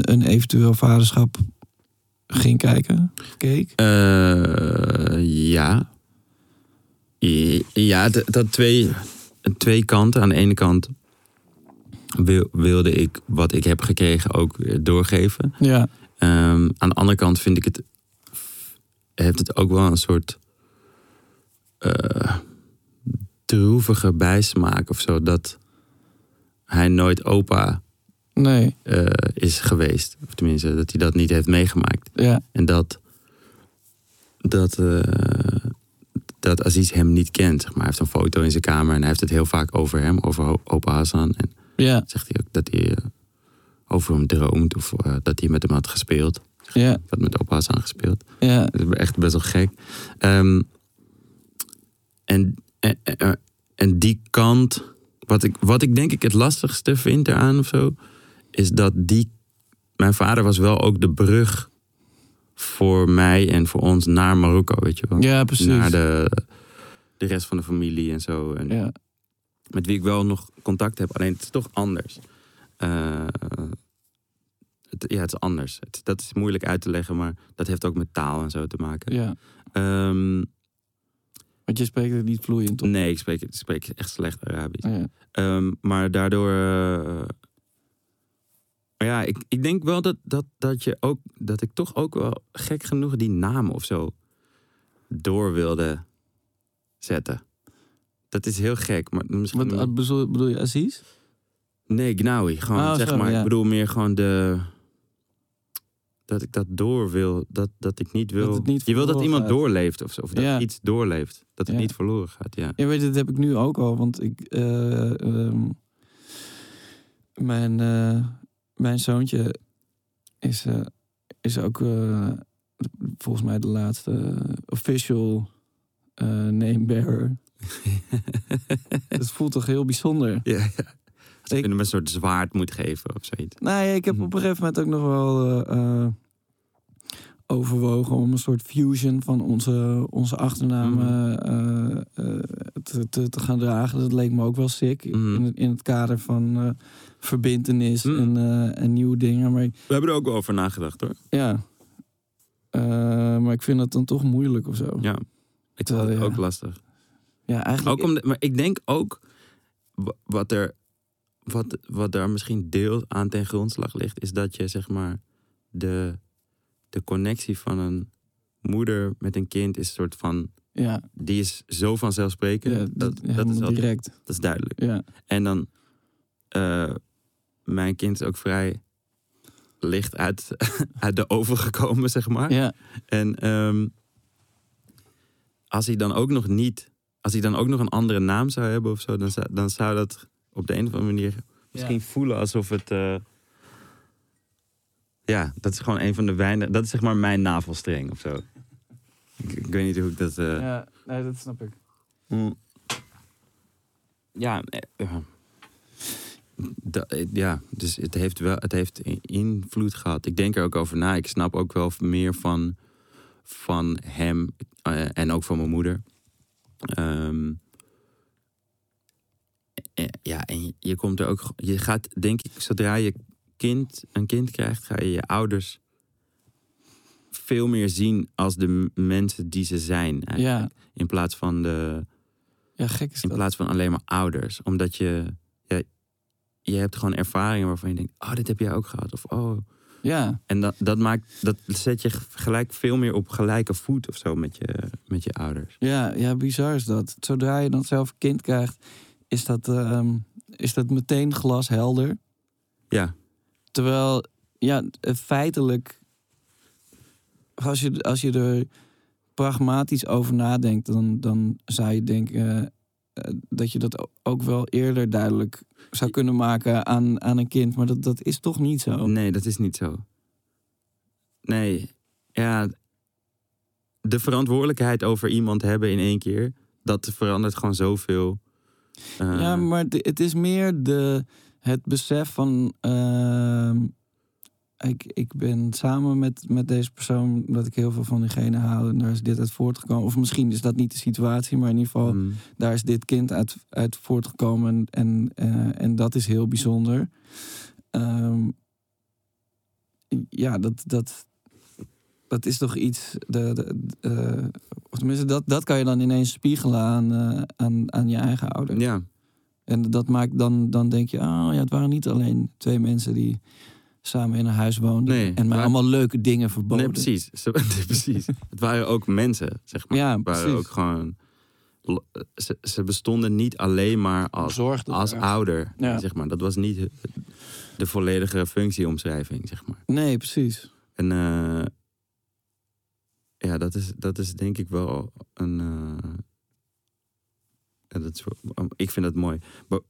een eventueel vaderschap ging kijken? Keek? Eh, ja. I- Ja, d- dat twee, twee kanten. Aan de ene kant wil- wilde ik wat ik heb gekregen ook weer doorgeven. Ja, Ehm, aan de andere kant vind ik het. heeft het ook wel een soort. eh, droevige bijsmaak of zo. Dat hij nooit opa nee. eh, is geweest. Of tenminste, dat hij dat niet heeft meegemaakt. Ja, En dat. Dat, eh, dat Aziz hem niet kent. Zeg maar. Hij heeft een foto in zijn kamer en hij heeft het heel vaak over hem, over ho- opa Hassan. En ja, zegt hij ook dat hij eh, over hem droomt of eh, dat hij met hem had gespeeld. ja, Ik had met opa Hassan gespeeld. ja, Dat is echt best wel gek. Ehm, en, en, en- en die kant, wat ik, wat ik denk ik het lastigste vind eraan of zo, is dat die. Mijn vader was wel ook de brug voor mij en voor ons naar Marokko, weet je wel. ja, precies. Naar de, de rest van de familie en zo. En Ja, Met wie ik wel nog contact heb, alleen het is toch anders. Eh, het, ja, het is anders. Het- dat is moeilijk uit te leggen, maar dat heeft ook met taal en zo te maken. ja. Ehm, Want je spreekt het niet vloeiend, toch? nee, ik spreek, ik spreek echt slecht Arabisch. Ja. Ehm, maar daardoor. eh, maar ja, ik, ik denk wel dat, dat, dat, je ook, dat ik toch ook wel gek genoeg die naam of zo door wilde zetten. Dat is heel gek, maar misschien. Wat wat bedoel, bedoel je, Aziz? Nee, Gnawi. Gewoon, Oh, zeg zo, maar. ja. Ik bedoel meer gewoon de... Dat ik dat door wil. Dat, dat ik niet wil... het niet je wil dat verloren iemand gaat. doorleeft of zo. Of dat Ja. iets doorleeft. Dat het Ja. niet verloren gaat, ja. Ja, weet je, dat heb ik nu ook al. Want ik, eh, ehm, mijn, eh, mijn zoontje is, eh, is ook eh, volgens mij de laatste eh, official eh, name bearer. Het voelt toch heel bijzonder. ja, ja. Dat Ik- je hem een soort zwaard moet geven of zoiets. Nou ja, ik heb Mhm. op een gegeven moment ook nog wel eh, eh, overwogen om een soort fusion van onze, onze achternamen Mhm. eh, eh, te, te, te gaan dragen. Dat leek me ook wel sick. Mhm. In, het- in het kader van eh verbindenis Mhm. en, eh, en nieuwe dingen. Maar ik- We hebben er ook wel over nagedacht hoor. ja. Eh, maar ik vind dat dan toch moeilijk of zo. Ja. Ik vond Terwijl, het ja. ook lastig. Ja, eigenlijk. Ook om de- maar ik denk ook wa- wat er, wat, wat daar misschien deels aan ten grondslag ligt, is dat je zeg maar de, de connectie van een moeder met een kind is een soort van. ja, Die is zo vanzelfsprekend. ja, dat, dat, helemaal is wel- direct. dat is duidelijk. Ja. En dan, eh, mijn kind is ook vrij licht uit, uit de oven gekomen, zeg maar. Ja. En ehm, als hij dan ook nog niet, als hij dan ook nog een andere naam zou hebben of zo, dan zou, dan zou dat op de een of andere manier misschien voelen alsof het. eh, ja, dat is gewoon een van de weinige. Dat is zeg maar mijn navelstreng of zo. Ik, ik weet niet hoe ik dat. eh, ja, nee, dat snap ik. Mm. Ja, eh, ja. Da- eh, ja, dus het heeft wel het heeft i- invloed gehad. Ik denk er ook over na. Ik snap ook wel meer van, van hem eh, en ook van mijn moeder. Ehm, eh, ja, en je- je komt er ook. g- Je gaat, denk ik, zodra je kind, een kind krijgt, ga je je ouders veel meer zien als de m- mensen die ze zijn. Eigenlijk. Ja, In plaats van de. ja gek is In dat. plaats van alleen maar ouders. Omdat je. Ja, je hebt gewoon ervaringen waarvan je denkt. Oh, dit heb jij ook gehad. Of oh. Ja, En dat, dat maakt. Dat zet je gelijk veel meer op gelijke voet of zo met je, met je ouders. ja, ja, bizar is dat. Zodra je dan zelf een kind krijgt, is dat, ehm, is dat meteen glashelder. Ja. Terwijl, ja, eh, feitelijk, als je, als je er pragmatisch over nadenkt, dan, dan zou je denken eh, dat je dat o- ook wel eerder duidelijk zou kunnen maken aan, aan een kind. Maar dat, dat is toch niet zo. Nee, dat is niet zo. Nee. Ja. De verantwoordelijkheid over iemand hebben in één keer. Dat verandert gewoon zoveel. Eh, Ja, maar de- het is meer de, het besef van. ehm, ik, ik ben samen met, met deze persoon dat ik heel veel van diegene hou. En daar is dit uit voortgekomen. Of misschien is dat niet de situatie, maar in ieder geval, mm, daar is dit kind uit, uit voortgekomen. En, eh, en dat is heel bijzonder. Ehm, ja, dat, dat, dat is toch iets. De, de- eh, of tenminste, dat, dat kan je dan ineens spiegelen aan, eh, aan, aan je eigen ouder. ja. En dat maakt dan, dan denk je, oh ja, het waren niet alleen twee mensen die samen in een huis woonden. en Nee, maar waar- allemaal leuke dingen verboden. Nee, precies. Zo- precies. Het waren ook mensen, zeg maar. Ja, Het waren precies. ook gewoon. lo- Ze, ze bestonden niet alleen maar als, Zorgde als er. ouder, Ja. zeg maar. Dat was niet het- de volledige functieomschrijving, zeg maar. Nee, precies. En eh, ja, dat is, dat is denk ik wel een. eh, ja, dat is wel- oh, ik vind dat mooi. Maar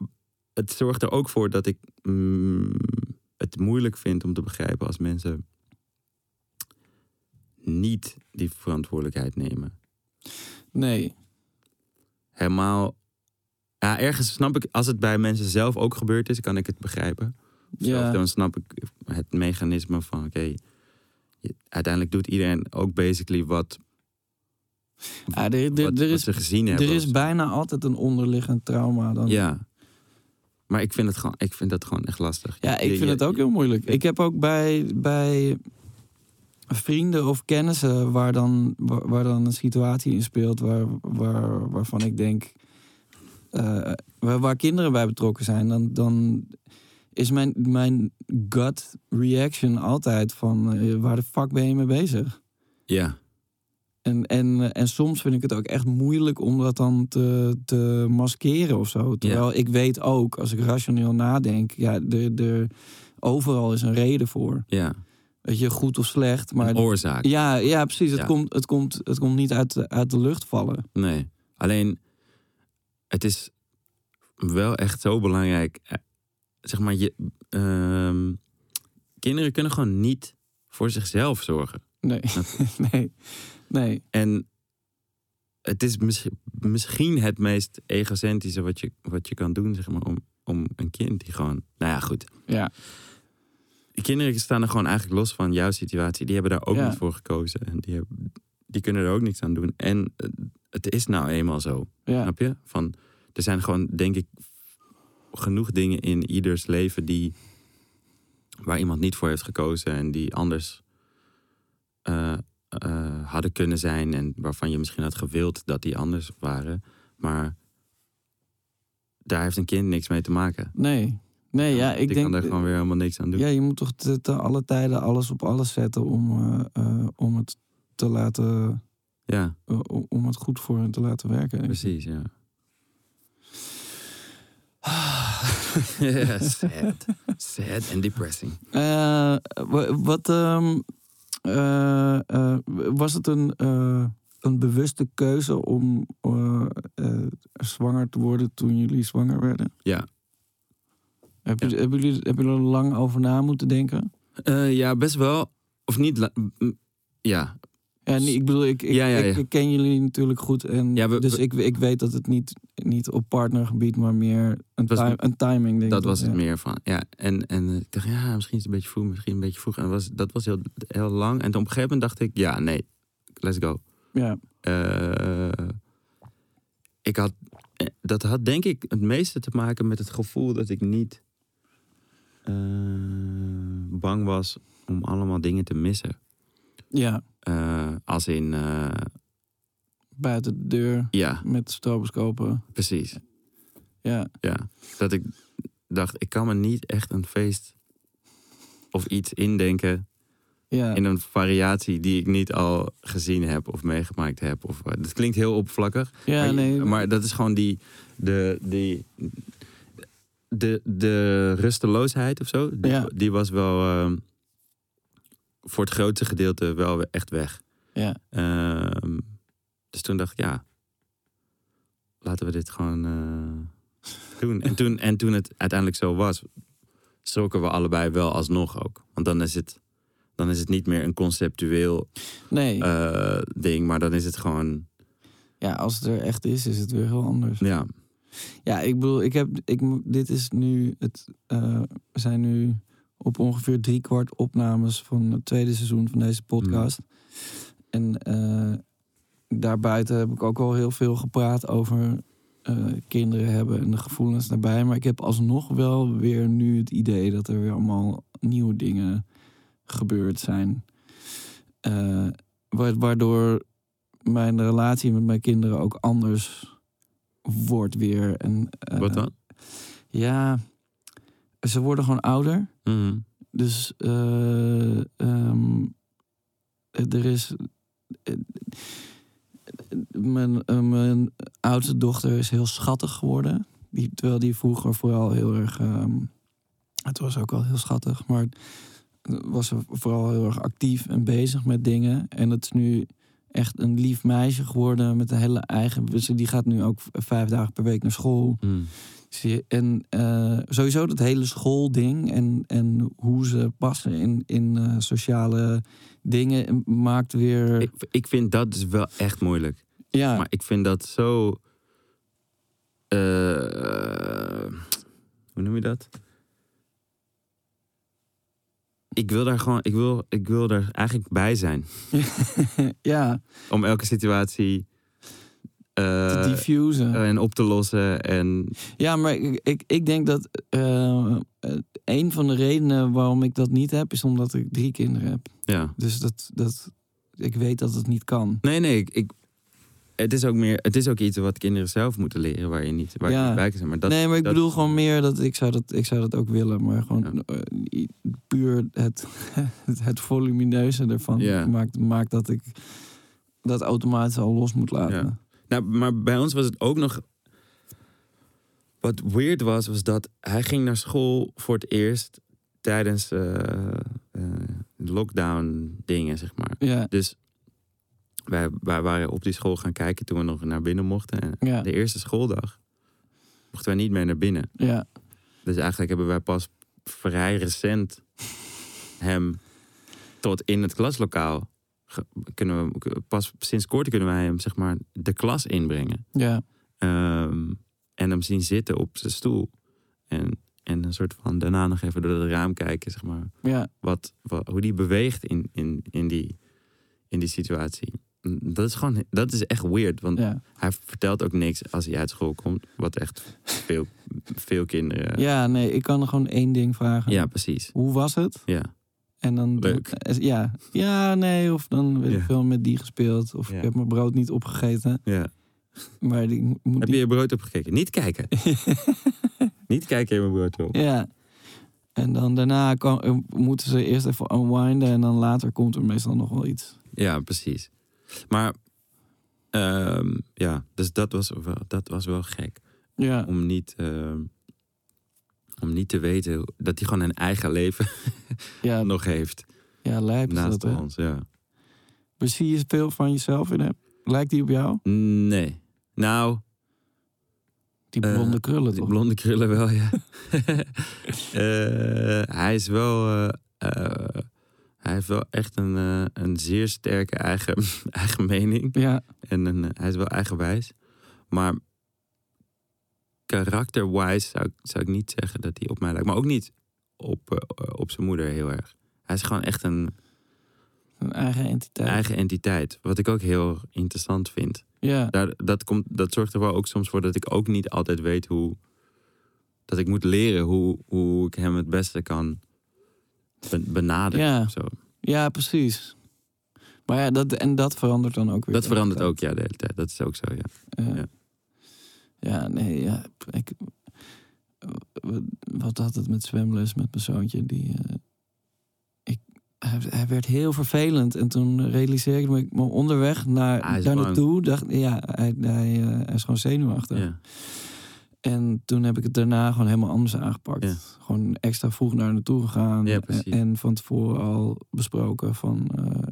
het zorgt er ook voor dat ik mm, het moeilijk vind om te begrijpen als mensen niet die verantwoordelijkheid nemen. Nee. Helemaal. Ja, ergens snap ik, als het bij mensen zelf ook gebeurd is, kan ik het begrijpen. Zelf, Ja, dan snap ik het mechanisme van, oké, je- uiteindelijk doet iedereen ook basically wat, Ja, er, er, wat, er wat is, ze gezien hebben. er of zo. is bijna altijd een onderliggend trauma dan. Ja. Maar ik vind, het gewoon, ik vind dat gewoon echt lastig. Ja, ik Je- vind je- het ook heel moeilijk. Ik heb ook bij, bij vrienden of kennissen waar dan, waar, waar dan een situatie in speelt waar, waar, waarvan ik denk. eh, waar, waar kinderen bij betrokken zijn, dan, dan is mijn, mijn gut reaction altijd van eh, waar de fuck ben je mee bezig? Ja, En, en, eh, en soms vind ik het ook echt moeilijk om dat dan te, te maskeren of zo. Terwijl ik weet ook, als ik rationeel nadenk, ja, de, de, overal is een reden voor. ja. Weet je, goed of slecht, maar... Een oorzaak. Ja, ja, precies. Het, Ja. Komt, het, komt, het komt niet uit de, uit de lucht vallen. Nee. Alleen, het is wel echt zo belangrijk. Eh, Zeg maar, je, ehm, kinderen kunnen gewoon niet voor zichzelf zorgen. Nee, nee, nee. En het is mis- misschien het meest egocentrische wat je, wat je kan doen, zeg maar, om, om een kind die gewoon... Nou ja, goed. Ja. Die kinderen staan er gewoon eigenlijk los van jouw situatie. Die hebben daar ook Ja. niet voor gekozen. En die, hebben- die kunnen er ook niks aan doen. En eh, het is nou eenmaal zo. Ja, Snap je? Van, er zijn gewoon, denk ik, genoeg dingen in ieders leven die. waar iemand niet voor heeft gekozen en die anders eh, eh, hadden kunnen zijn. en waarvan je misschien had gewild dat die anders waren. Maar daar heeft een kind niks mee te maken. nee. Nee, ja, ik die denk... kan daar gewoon weer helemaal niks aan doen. Ja, je moet toch te, te alle tijden alles op alles zetten om, eh, eh, om het te laten... ja eh, om- om het goed voor hen te laten werken. precies, ja. Ja, sad. Sad and depressing. Eh, wa- wat ehm, eh, eh, was het een, eh, een bewuste keuze om eh, eh, zwanger te worden toen jullie zwanger werden? Ja. Heb Ja. je, Hebben jullie hebben jullie er lang over na moeten denken? Eh, ja, best wel. Of niet. la- m- ja. Ja, nee, ik bedoel, ik, ik, Ja, ja, ik- ja. ik ken jullie natuurlijk goed. En Ja, we- dus we- ik, ik weet dat het niet, niet op partnergebied, maar meer een, was- ti- een timing denk dat ik. was het ja. meer van. Ja, en, en eh, ik dacht, ja, misschien is het een beetje vroeg, misschien een beetje vroeg. En was, dat was heel, heel lang. En op een gegeven moment dacht ik, ja, nee, let's go. Ja, Eh, ik had, eh, dat had denk ik het meeste te maken met het gevoel dat ik niet eh, bang was om allemaal dingen te missen. ja, Eh, als in, eh, buiten de deur ja, met stroboscopen. precies. Ja. Ja, dat ik dacht, ik kan me niet echt een feest of iets indenken Ja, in een variatie die ik niet al gezien heb of meegemaakt heb. Of, eh, dat klinkt heel oppervlakkig, ja maar, nee. maar dat is gewoon die, de, die, de, de rusteloosheid of zo, die, Ja. die was wel ehm, voor het grootste gedeelte wel echt weg. Ja. Ehm, dus toen dacht ik, ja, laten we dit gewoon eh, doen. En toen, en toen het uiteindelijk zo was, schrokken we allebei wel alsnog ook. Want dan is het, dan is het niet meer een conceptueel Nee, eh, ding, maar dan is het gewoon, ja, als het er echt is, is het weer heel anders. ja, Ja, ik bedoel, ik heb, ik, mo- dit is nu, het, eh, we zijn nu op ongeveer driekwart opnames van het tweede seizoen van deze podcast. En eh, daarbuiten heb ik ook al heel veel gepraat over eh, kinderen hebben en de gevoelens daarbij. Maar ik heb alsnog wel weer nu het idee dat er weer allemaal nieuwe dingen gebeurd zijn. Eh, wa- waardoor mijn relatie met mijn kinderen ook anders wordt weer. En, eh, wat dan? ja, ze worden gewoon ouder. Mhm. Dus eh, ehm, er is. eh, Mijn, eh, mijn oudste dochter is heel schattig geworden. Die, terwijl die vroeger vooral heel erg. ehm, het was ook wel heel schattig, maar was ze vooral heel erg actief en bezig met dingen. En dat is nu echt een lief meisje geworden met een hele eigen. dus Die gaat nu ook vijf dagen per week naar school. Mhm. Zie je, En eh, sowieso dat hele schoolding en, en hoe ze passen in, in eh, sociale dingen maakt weer. Ik, ik vind dat dus wel echt moeilijk. ja, Maar ik vind dat zo. eh, hoe noem je dat? Ik wil daar gewoon. Ik wil, ik wil daar eigenlijk bij zijn. ja, Om elke situatie. eh, te diffusen. en op te lossen. En Ja, maar ik, ik, ik denk dat eh, eh, een van de redenen waarom ik dat niet heb, is omdat ik drie kinderen heb. ja. Dus dat, dat, ik weet dat het niet kan. Nee, nee. Ik, ik- het, is ook meer, het is ook iets wat kinderen zelf moeten leren. Waar je niet, waar je Ja. niet bij kan zijn. Maar dat, nee, maar ik dat- bedoel gewoon meer dat ik zou dat, ik zou dat ook willen. Maar gewoon eh, puur het, het, het volumineuze ervan Ja. maakt, maakt dat ik dat automatisch al los moet laten. Ja. Nou, maar bij ons was het ook nog. Wat weird was, was dat hij ging naar school voor het eerst tijdens eh, eh, lockdown dingen, zeg maar. Ja, Dus wij, wij waren op die school gaan kijken toen we nog naar binnen mochten. En ja, de eerste schooldag mochten wij niet meer naar binnen. ja, Dus eigenlijk hebben wij pas vrij recent hem tot in het klaslokaal ge- kunnen we, pas sinds kort kunnen wij hem zeg maar de klas inbrengen. Ja. Ehm, en hem zien zitten op zijn stoel. En, en een soort van daarna nog even door het raam kijken, zeg maar. Ja. Wat, wat, hoe die beweegt in, in, in, die, in die situatie. Dat is gewoon, dat is echt weird. Want Ja. hij vertelt ook niks als hij uit school komt. Wat echt veel, veel kinderen. ja, nee, ik kan er gewoon één ding vragen. ja precies. Hoe was het? Ja. En dan Leuk. eh, Ja. ja, nee, of dan weet Ja. ik veel met die gespeeld. Of Ja. ik heb mijn brood niet opgegeten. ja. Maar die moet Heb die- je je brood opgekeken? Niet kijken. Niet kijken in mijn brood op. Ja. En dan daarna kan, eh, moeten ze eerst even unwinden en dan later komt er meestal nog wel iets. Ja, precies. Maar ehm, ja, dus dat was wel, dat was wel gek. Ja, Om niet, ehm, om niet te weten dat hij gewoon een eigen leven ja, nog heeft. ja lijp is naast dat, hè? ons, ja. Maar zie je veel van jezelf in hem? Lijkt die op jou? Nee. Nou, Die Eh, blonde krullen, die toch? blonde krullen wel, ja. Eh, hij is wel... eh, eh, hij heeft wel echt een, eh, een zeer sterke eigen, eigen mening. Ja, En een, eh, hij is wel eigenwijs. Maar karakterwijs zou, ik- zou ik niet zeggen dat hij op mij lijkt. Maar ook niet op, eh, op zijn moeder heel erg. Hij is gewoon echt een een eigen entiteit. eigen entiteit. Wat ik ook heel interessant vind. Ja, Daar, dat, komt, dat zorgt er wel ook soms voor dat ik ook niet altijd weet hoe... Dat ik moet leren hoe, hoe ik hem het beste kan ben- benaderen. Ja. of zo. ja, precies. Maar ja, dat, en dat verandert dan ook weer. Dat verandert ook ja, de hele tijd. Dat is ook zo, ja. Ja. Ja. Ja. nee, Eh, ja. Ik, wat had het met zwemles met mijn zoontje? Die, eh, ik, hij, hij werd heel vervelend. En toen realiseerde ik me, ik me onderweg naar, Hij is daar bang. naartoe. Dacht, ja, hij, hij, eh, hij is gewoon zenuwachtig. ja. En toen heb ik het daarna gewoon helemaal anders aangepakt. Ja. Gewoon extra vroeg naar naartoe gegaan. Ja, precies. En van tevoren al besproken van... eh,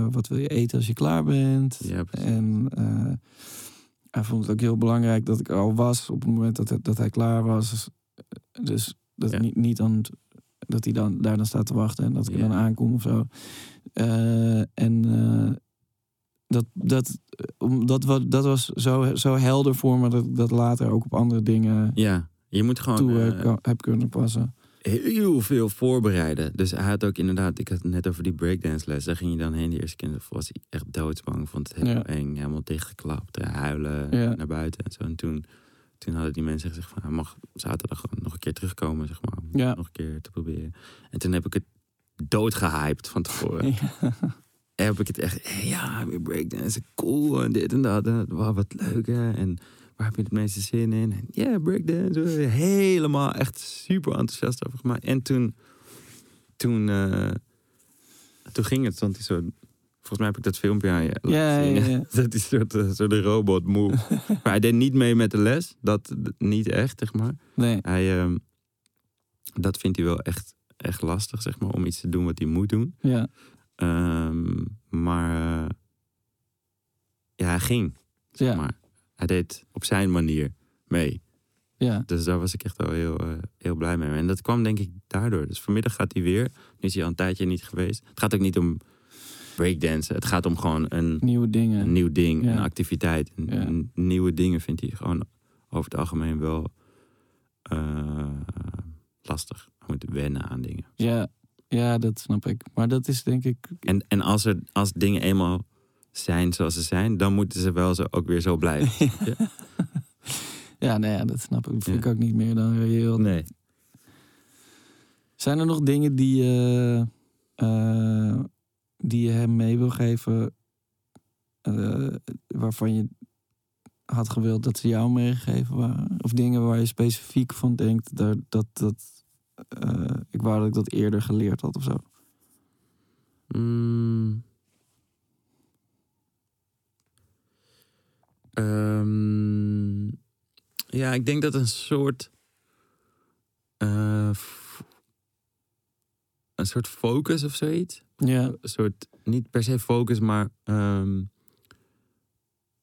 eh, wat wil je eten als je klaar bent? Ja, precies. En eh, hij vond het ook heel belangrijk dat ik er al was op het moment dat hij, dat hij klaar was. Dus dat Ja. niet, niet aan, het- dat hij dan, daar dan staat te wachten en dat ik Ja. er dan aankom of zo. Eh, en eh, dat, dat, eh, om- dat, wa- dat was zo, zo helder voor me dat ik dat later ook op andere dingen ja, je moet gewoon... toe eh, heb, heb kunnen passen. heel veel voorbereiden. Dus hij had ook inderdaad, ik had het net over die breakdance les. Daar ging je dan heen de eerste keer. en Was hij echt doodsbang. Vond het helemaal Ja. eng. Helemaal dichtgeklapt. eh, Huilen Ja. naar buiten en zo. En toen, toen hadden die mensen gezegd van hij mag zaterdag gewoon nog een keer terugkomen. Zeg maar, om het Ja. nog een keer te proberen. En toen heb ik het doodgehyped van tevoren. En heb ik het echt, hey, ja, weer breakdance, cool, en dit en dat. En wow, wat leuk, hè. En waar heb je het meeste zin in? En ja, breakdance. eh, Helemaal echt super enthousiast over gemaakt. En toen, toen, eh, toen ging het, want die soort... Volgens mij heb ik dat filmpje aan je laten Ja, zien. ja, ja. Dat is soort, eh, soort robot move. maar hij deed niet mee met de les. Dat niet echt, zeg maar. Nee, Hij, ehm, dat vindt hij wel echt, echt lastig, zeg maar. Om iets te doen wat hij moet doen. ja. Ehm, maar eh, ja, hij ging. Zeg Ja. maar. Hij deed op zijn manier mee. Ja, Dus daar was ik echt wel heel, eh, heel blij mee. En dat kwam denk ik daardoor. Dus vanmiddag gaat hij weer. Nu is hij al een tijdje niet geweest. Het gaat ook niet om breakdansen. Het gaat om gewoon een, nieuwe dingen. een nieuw ding, Ja. een activiteit. Een- Ja. een nieuwe dingen vindt hij gewoon over het algemeen wel eh, lastig. Hij moet wennen aan dingen. Ja, ja, dat snap ik. Maar dat is denk ik... En, en als, er, als dingen eenmaal zijn zoals ze zijn, dan moeten ze wel zo, ook weer zo blijven. Ja, nou ja, dat snap ik. Dat vind Ja. ik ook niet meer dan reëel. Nee. Zijn er nog dingen die, je, eh, die je hem mee wil geven... eh, waarvan je had gewild dat ze jou meegegeven waren? Of dingen waar je specifiek van denkt... Daar, dat, dat, eh, ik wou dat ik dat eerder geleerd had of zo. Mm. Ehm, ja, ik denk dat een soort. eh, f- een soort focus of zoiets. Ja, een soort, niet per se focus, maar ehm,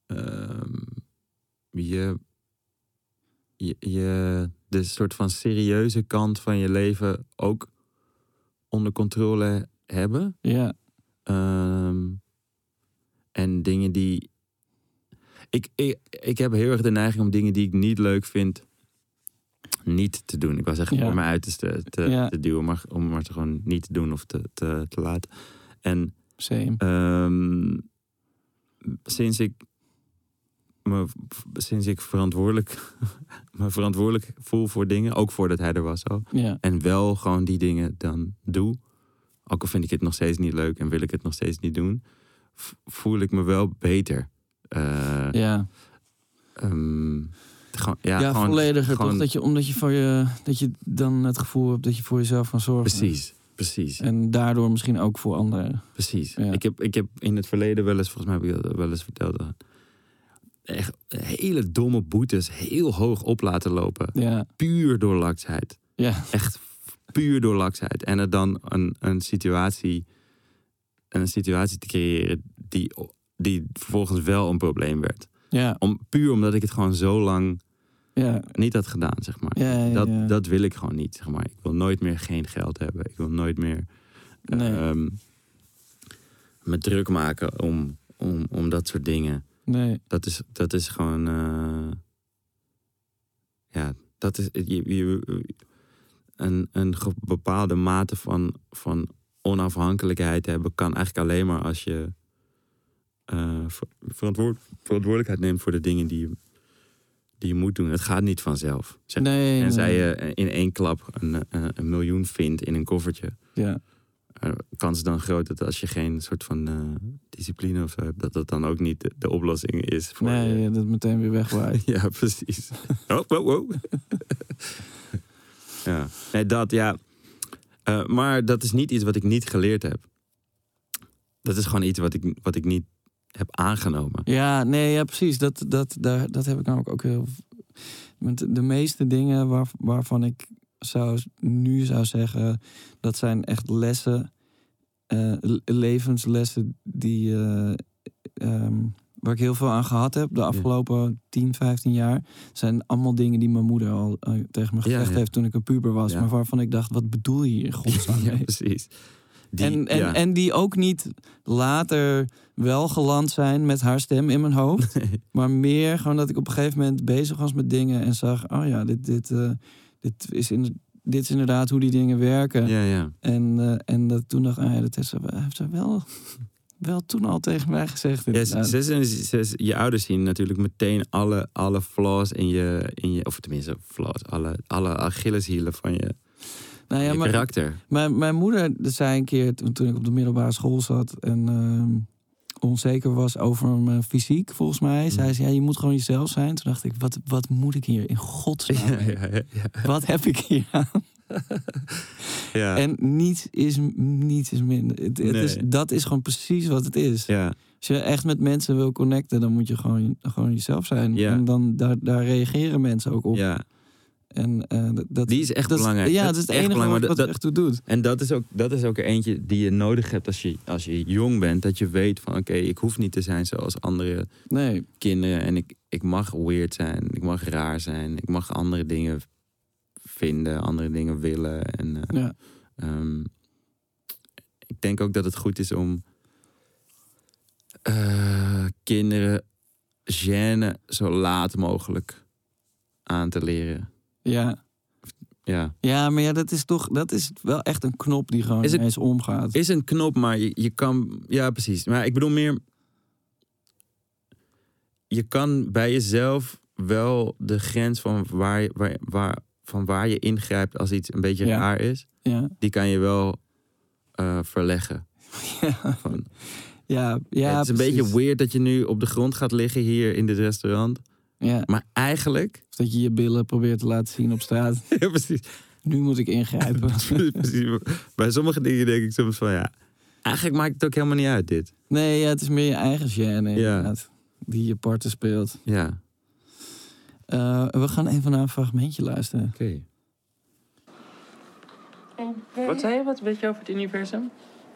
ehm, je, je, je, de soort van serieuze kant van je leven ook onder controle hebben. Ja, Ehm, en dingen die. Ik, ik, ik heb heel erg de neiging om dingen die ik niet leuk vind. niet te doen. Ik was echt Ja. voor mijn uiterste te, Ja. te duwen. Maar om maar te gewoon niet te doen of te, te, te laten. En same. ehm, sinds ik. Me, sinds ik verantwoordelijk, me verantwoordelijk voel voor dingen, ook voordat hij er was al. Ja, En wel gewoon die dingen dan doe. Ook al vind ik het nog steeds niet leuk en wil ik het nog steeds niet doen. v- Voel ik me wel beter. Eh, ja. ehm, gewoon, ja, ja, gewoon, vollediger gewoon- toch? Dat je, omdat je, voor je, dat je dan het gevoel hebt dat je voor jezelf kan zorgen. Precies, precies, En daardoor misschien ook voor anderen. precies. Ja. Ik, heb, ik heb in het verleden wel eens, volgens mij heb ik dat wel eens verteld. eh, Echt hele domme boetes heel hoog op laten lopen. Ja, Puur door laksheid. ja, echt f- puur door laksheid. En het dan een, een situatie een situatie te creëren die, die vervolgens wel een probleem werd. ja, Om, puur omdat ik het gewoon zo lang ja. niet had gedaan, zeg maar. Ja, ja, dat, ja. dat wil ik gewoon niet, zeg maar. Ik wil nooit meer geen geld hebben. Ik wil nooit meer eh, Nee. ehm, me druk maken om, om, om dat soort dingen. Nee, Dat is, dat is gewoon. eh, ja, dat is. Je, je- een, een ge- bepaalde mate van, van onafhankelijkheid hebben kan eigenlijk alleen maar als je. eh, ver- verantwoord, verantwoordelijkheid neemt voor de dingen die je, die je moet doen. Het gaat niet vanzelf. Zeg. nee. en zij eh, nee. je in één klap een, eh, een, een miljoen vindt in een koffertje. Ja, Eh, kans is dan groot dat als je geen soort van eh, discipline of zo hebt, dat dat dan ook niet de, de oplossing is voor je. nee, ja, dat meteen weer wegwaait. Ja, precies. Oh, wow, wow. ja, nee, dat ja. Eh, maar dat is niet iets wat ik niet geleerd heb. Dat is gewoon iets wat ik, wat ik niet heb aangenomen. Ja, nee, ja, precies. Dat, dat, daar, dat heb ik namelijk ook heel. Met de meeste dingen waar, waarvan ik zou, nu zou zeggen, dat zijn echt lessen, eh, le- levenslessen die, eh, ehm, waar ik heel veel aan gehad heb de afgelopen 10, 15 jaar. zijn allemaal dingen die mijn moeder al eh, tegen me Ja, gezegd ja. heeft toen ik een puber was, Ja. maar waarvan ik dacht, wat bedoel je hier in godsnaam ja, mee? precies. Die, en, en, ja. en die ook niet later wel geland zijn met haar stem in mijn hoofd. Maar meer gewoon dat ik op een gegeven moment bezig was met dingen en zag: oh ja, dit, dit, eh, dit, is, in, dit is inderdaad hoe die dingen werken. ja, ja. En, eh, en dat toen dacht ik: ah ja, dat is, heeft ze wel, wel toen al tegen mij gezegd. Ja, inderdaad. ze- ze- ze- ze- je ouders zien natuurlijk meteen alle, alle flaws in je, in je, of tenminste flaws, alle, alle Achilleshielen van je, nou ja, je maar karakter. Mijn, mijn moeder zei een keer toen, toen ik op de middelbare school zat en ehm, onzeker was over mijn fysiek, volgens mij. Mm. Zei ze, ja, je moet gewoon jezelf zijn. Toen dacht ik, wat, wat moet ik hier in godsnaam? Ja, mee? ja, ja, ja. Wat heb ik hier aan? Ja. En niets is, niets is minder. Het, het Nee. is, dat is gewoon precies wat het is. ja. Als je echt met mensen wil connecten, dan moet je gewoon, gewoon jezelf zijn. Ja. En dan, daar, daar reageren mensen ook op. ja. En, eh, dat- dat, Die is echt dat belangrijk. Ja, Dat dat is is het echt enige wat, belangrijk, wat maar dat- er echt toe doet. En dat is, ook, dat is ook er eentje die je nodig hebt als je, als je jong bent. Dat je weet van oké, ik hoef niet te zijn zoals andere Nee, kinderen. En ik, ik mag weird zijn, ik mag raar zijn, ik mag andere dingen vinden, andere dingen willen. En, eh, ja. Ehm, ik denk ook dat het goed is om eh, kinderen gêne zo laat mogelijk aan te leren. ja. Ja. Ja, maar ja, dat is toch dat is wel echt een knop die gewoon Is het- ineens omgaat. Is een knop, maar je, je kan. Ja, precies. Maar ik bedoel meer. Je kan bij jezelf wel de grens van waar, je- waar, waar, van waar je ingrijpt als iets een beetje Ja. raar is, Ja, die kan je wel eh, verleggen. ja, Van, ja. ja het is een precies. beetje weird dat je nu op de grond gaat liggen hier in dit restaurant. Ja, Maar eigenlijk. of dat je je billen probeert te laten zien op straat. Ja, precies. Nu moet ik ingrijpen. precies. Bij sommige dingen denk ik soms van ja. Eigenlijk maakt het ook helemaal niet uit, dit. Nee, ja, het is meer je eigen gêne inderdaad. Die je parten speelt. Ja, oké. Eh, we gaan even naar een fragmentje luisteren. Wat zei je? Wat weet je over het universum?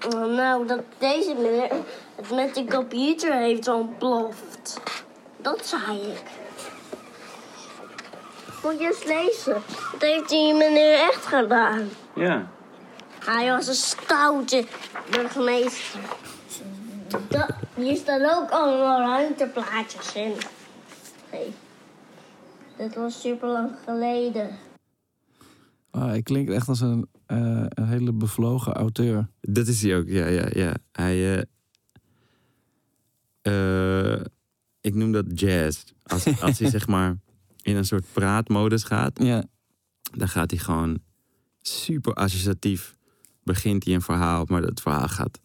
Nou, dat deze meneer het met de computer heeft ontploft. Dat zei ik. Moet je eens lezen. Dat heeft die meneer echt gedaan. Ja. Hij was een stoute burgemeester. Da- hier staan ook allemaal ruimteplaatjes in. Hey. Dat was super lang geleden. Ah, hij klinkt echt als een, eh, een hele bevlogen auteur. Dat is hij ook, ja, ja, ja. Hij, eh, eh, ik noem dat jazz. Als, als hij zeg maar in een soort praatmodus gaat, Ja, dan gaat hij gewoon super associatief. Begint hij een verhaal, maar dat verhaal gaat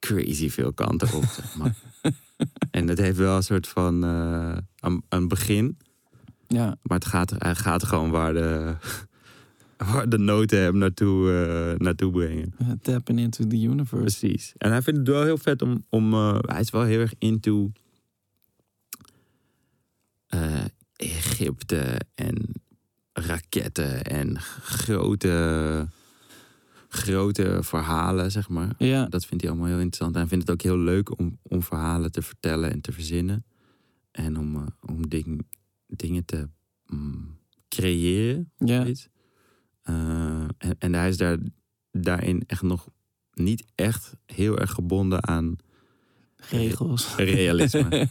crazy veel kanten op. zeg maar. En het heeft wel een soort van eh, een, een begin, ja, maar het gaat, hij gaat gewoon waar de, waar de noten hem naartoe, eh, naartoe brengen. eh, tapping into the universe. Precies. En hij vindt het wel heel vet om. om eh, hij is wel heel erg into. eh, Egypte en raketten en g- grote. grote verhalen, zeg maar. Ja, Dat vindt hij allemaal heel interessant. En hij vindt het ook heel leuk om, om verhalen te vertellen en te verzinnen. En om, eh, om ding, dingen te mm, creëren ja, zoiets. Eh, en, en hij is daar, daarin echt nog niet echt heel erg gebonden aan regels. realisme.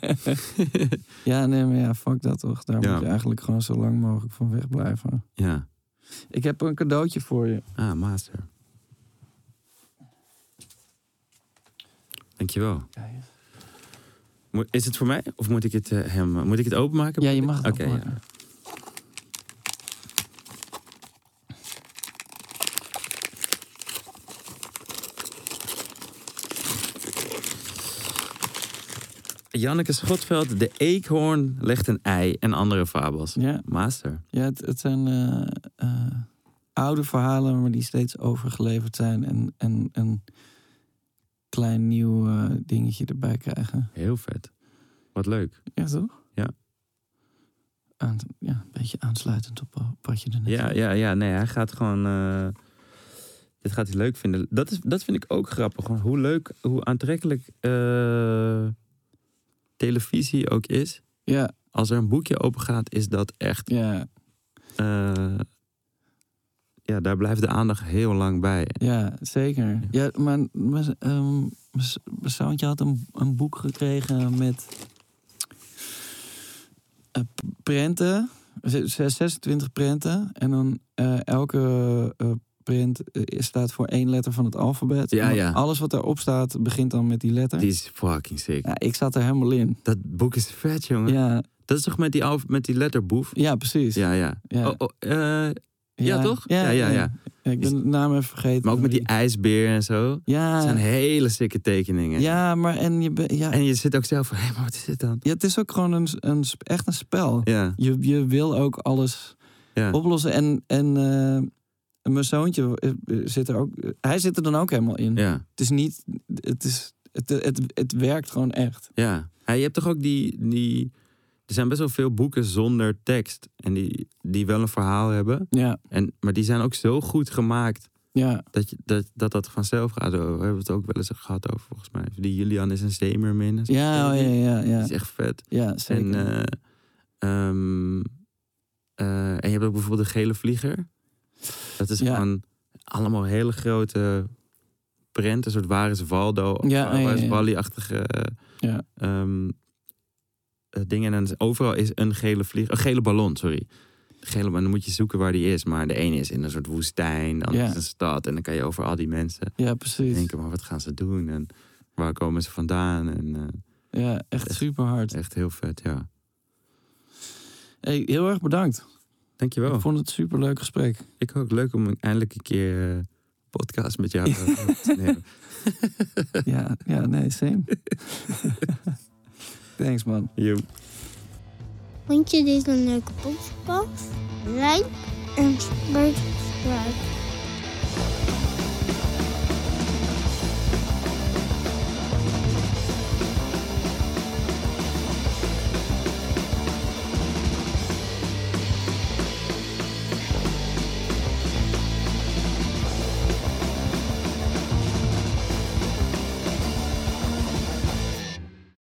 ja, nee, maar ja, fuck dat toch. Daar Ja. moet je eigenlijk gewoon zo lang mogelijk van weg blijven. ja. Ik heb een cadeautje voor je. Ah, master. Dankjewel. Moet- Is het voor mij? Of moet ik het, eh, hem, moet ik het openmaken? Ja, je mag het Oké, ja. opmaken. Janneke Schotveld, de eekhoorn legt een ei en andere fabels. Ja. Master. Ja, het, het zijn eh, eh, oude verhalen, maar die steeds overgeleverd zijn en, en een klein nieuw eh, dingetje erbij krijgen. Heel vet. Wat leuk. Ja, toch? Ja. Aan, ja, een beetje aansluitend op eh, wat je er net Ja, zei. ja, ja. Nee, hij gaat gewoon. eh, dit gaat hij leuk vinden. Dat, is, dat vind ik ook grappig. Gewoon hoe leuk, hoe aantrekkelijk eh, televisie ook is. Ja, Als er een boekje open gaat, is dat echt. ja, eh, ja, daar blijft de aandacht heel lang bij. ja, zeker. Ja, maar mijn ehm, mijn s- mijn zoontje had een, een boek gekregen met eh, p- prenten. Z- zes- 26 prenten. En dan eh, elke eh, print eh, staat voor één letter van het alfabet. Ja, En dan ja. Alles wat daarop staat begint dan met die letter. Die is fucking sick. Ja, ik zat er helemaal in. Dat boek is vet, jongen. Ja, Dat is toch met die, alf- met die letterboef? ja precies. Ja, ja. Ja. Oh, oh, eh, ja, toch? Ja, ja, ja. ik ben Is- de naam even vergeten. maar ook met die ijsbeer en zo. Ja, Dat zijn hele sikke tekeningen. ja maar en je ben- ja, En je zit ook zelf van, hé, maar wat is dit dan? ja, het is ook gewoon een, een, sp- echt een spel. Ja, Je, je wil ook alles ja. oplossen. En, en eh, mijn zoontje eh, zit er ook. Hij zit er dan ook helemaal in. ja, Het is niet. Het, is, het, het, het werkt gewoon echt. ja. Hé, je hebt toch ook die, die... Er zijn best wel veel boeken zonder tekst. En die, die wel een verhaal hebben. Ja, En, maar die zijn ook zo goed gemaakt ja, dat je, dat, dat, dat vanzelf gaat. Oh, We hebben het ook wel eens gehad over, volgens mij. Die Julian is een zeemermin. en zo. ja, oh, ja, ja, Die ja. is echt vet. ja En, zeker. eh, ehm, eh, en je hebt ook bijvoorbeeld de gele vlieger. Dat is Ja. gewoon allemaal hele grote prent. Een soort waar is Waldo, of Ja, waar, ja, waar is ja. Wally-achtige eh, Ja. ehm, eh, dingen. En dan is- overal is een gele vlieger, een gele ballon, sorry. Gele, maar dan moet je zoeken waar die is. Maar de ene is in een soort woestijn, de andere Ja. is in een stad. En dan kan je over al die mensen ja, precies. denken, maar wat gaan ze doen? En waar komen ze vandaan? En eh, Ja, echt super hard. echt heel vet, ja. Hey, heel erg bedankt. Dankjewel. Ik vond het een super leuk gesprek. Ik ook leuk om eindelijk een keer eh, een podcast met jou eh, te te nemen. Ja, ja, nee, same. Thanks, man. Joep. Vond je dit een leuke podcast? Like en subscribe.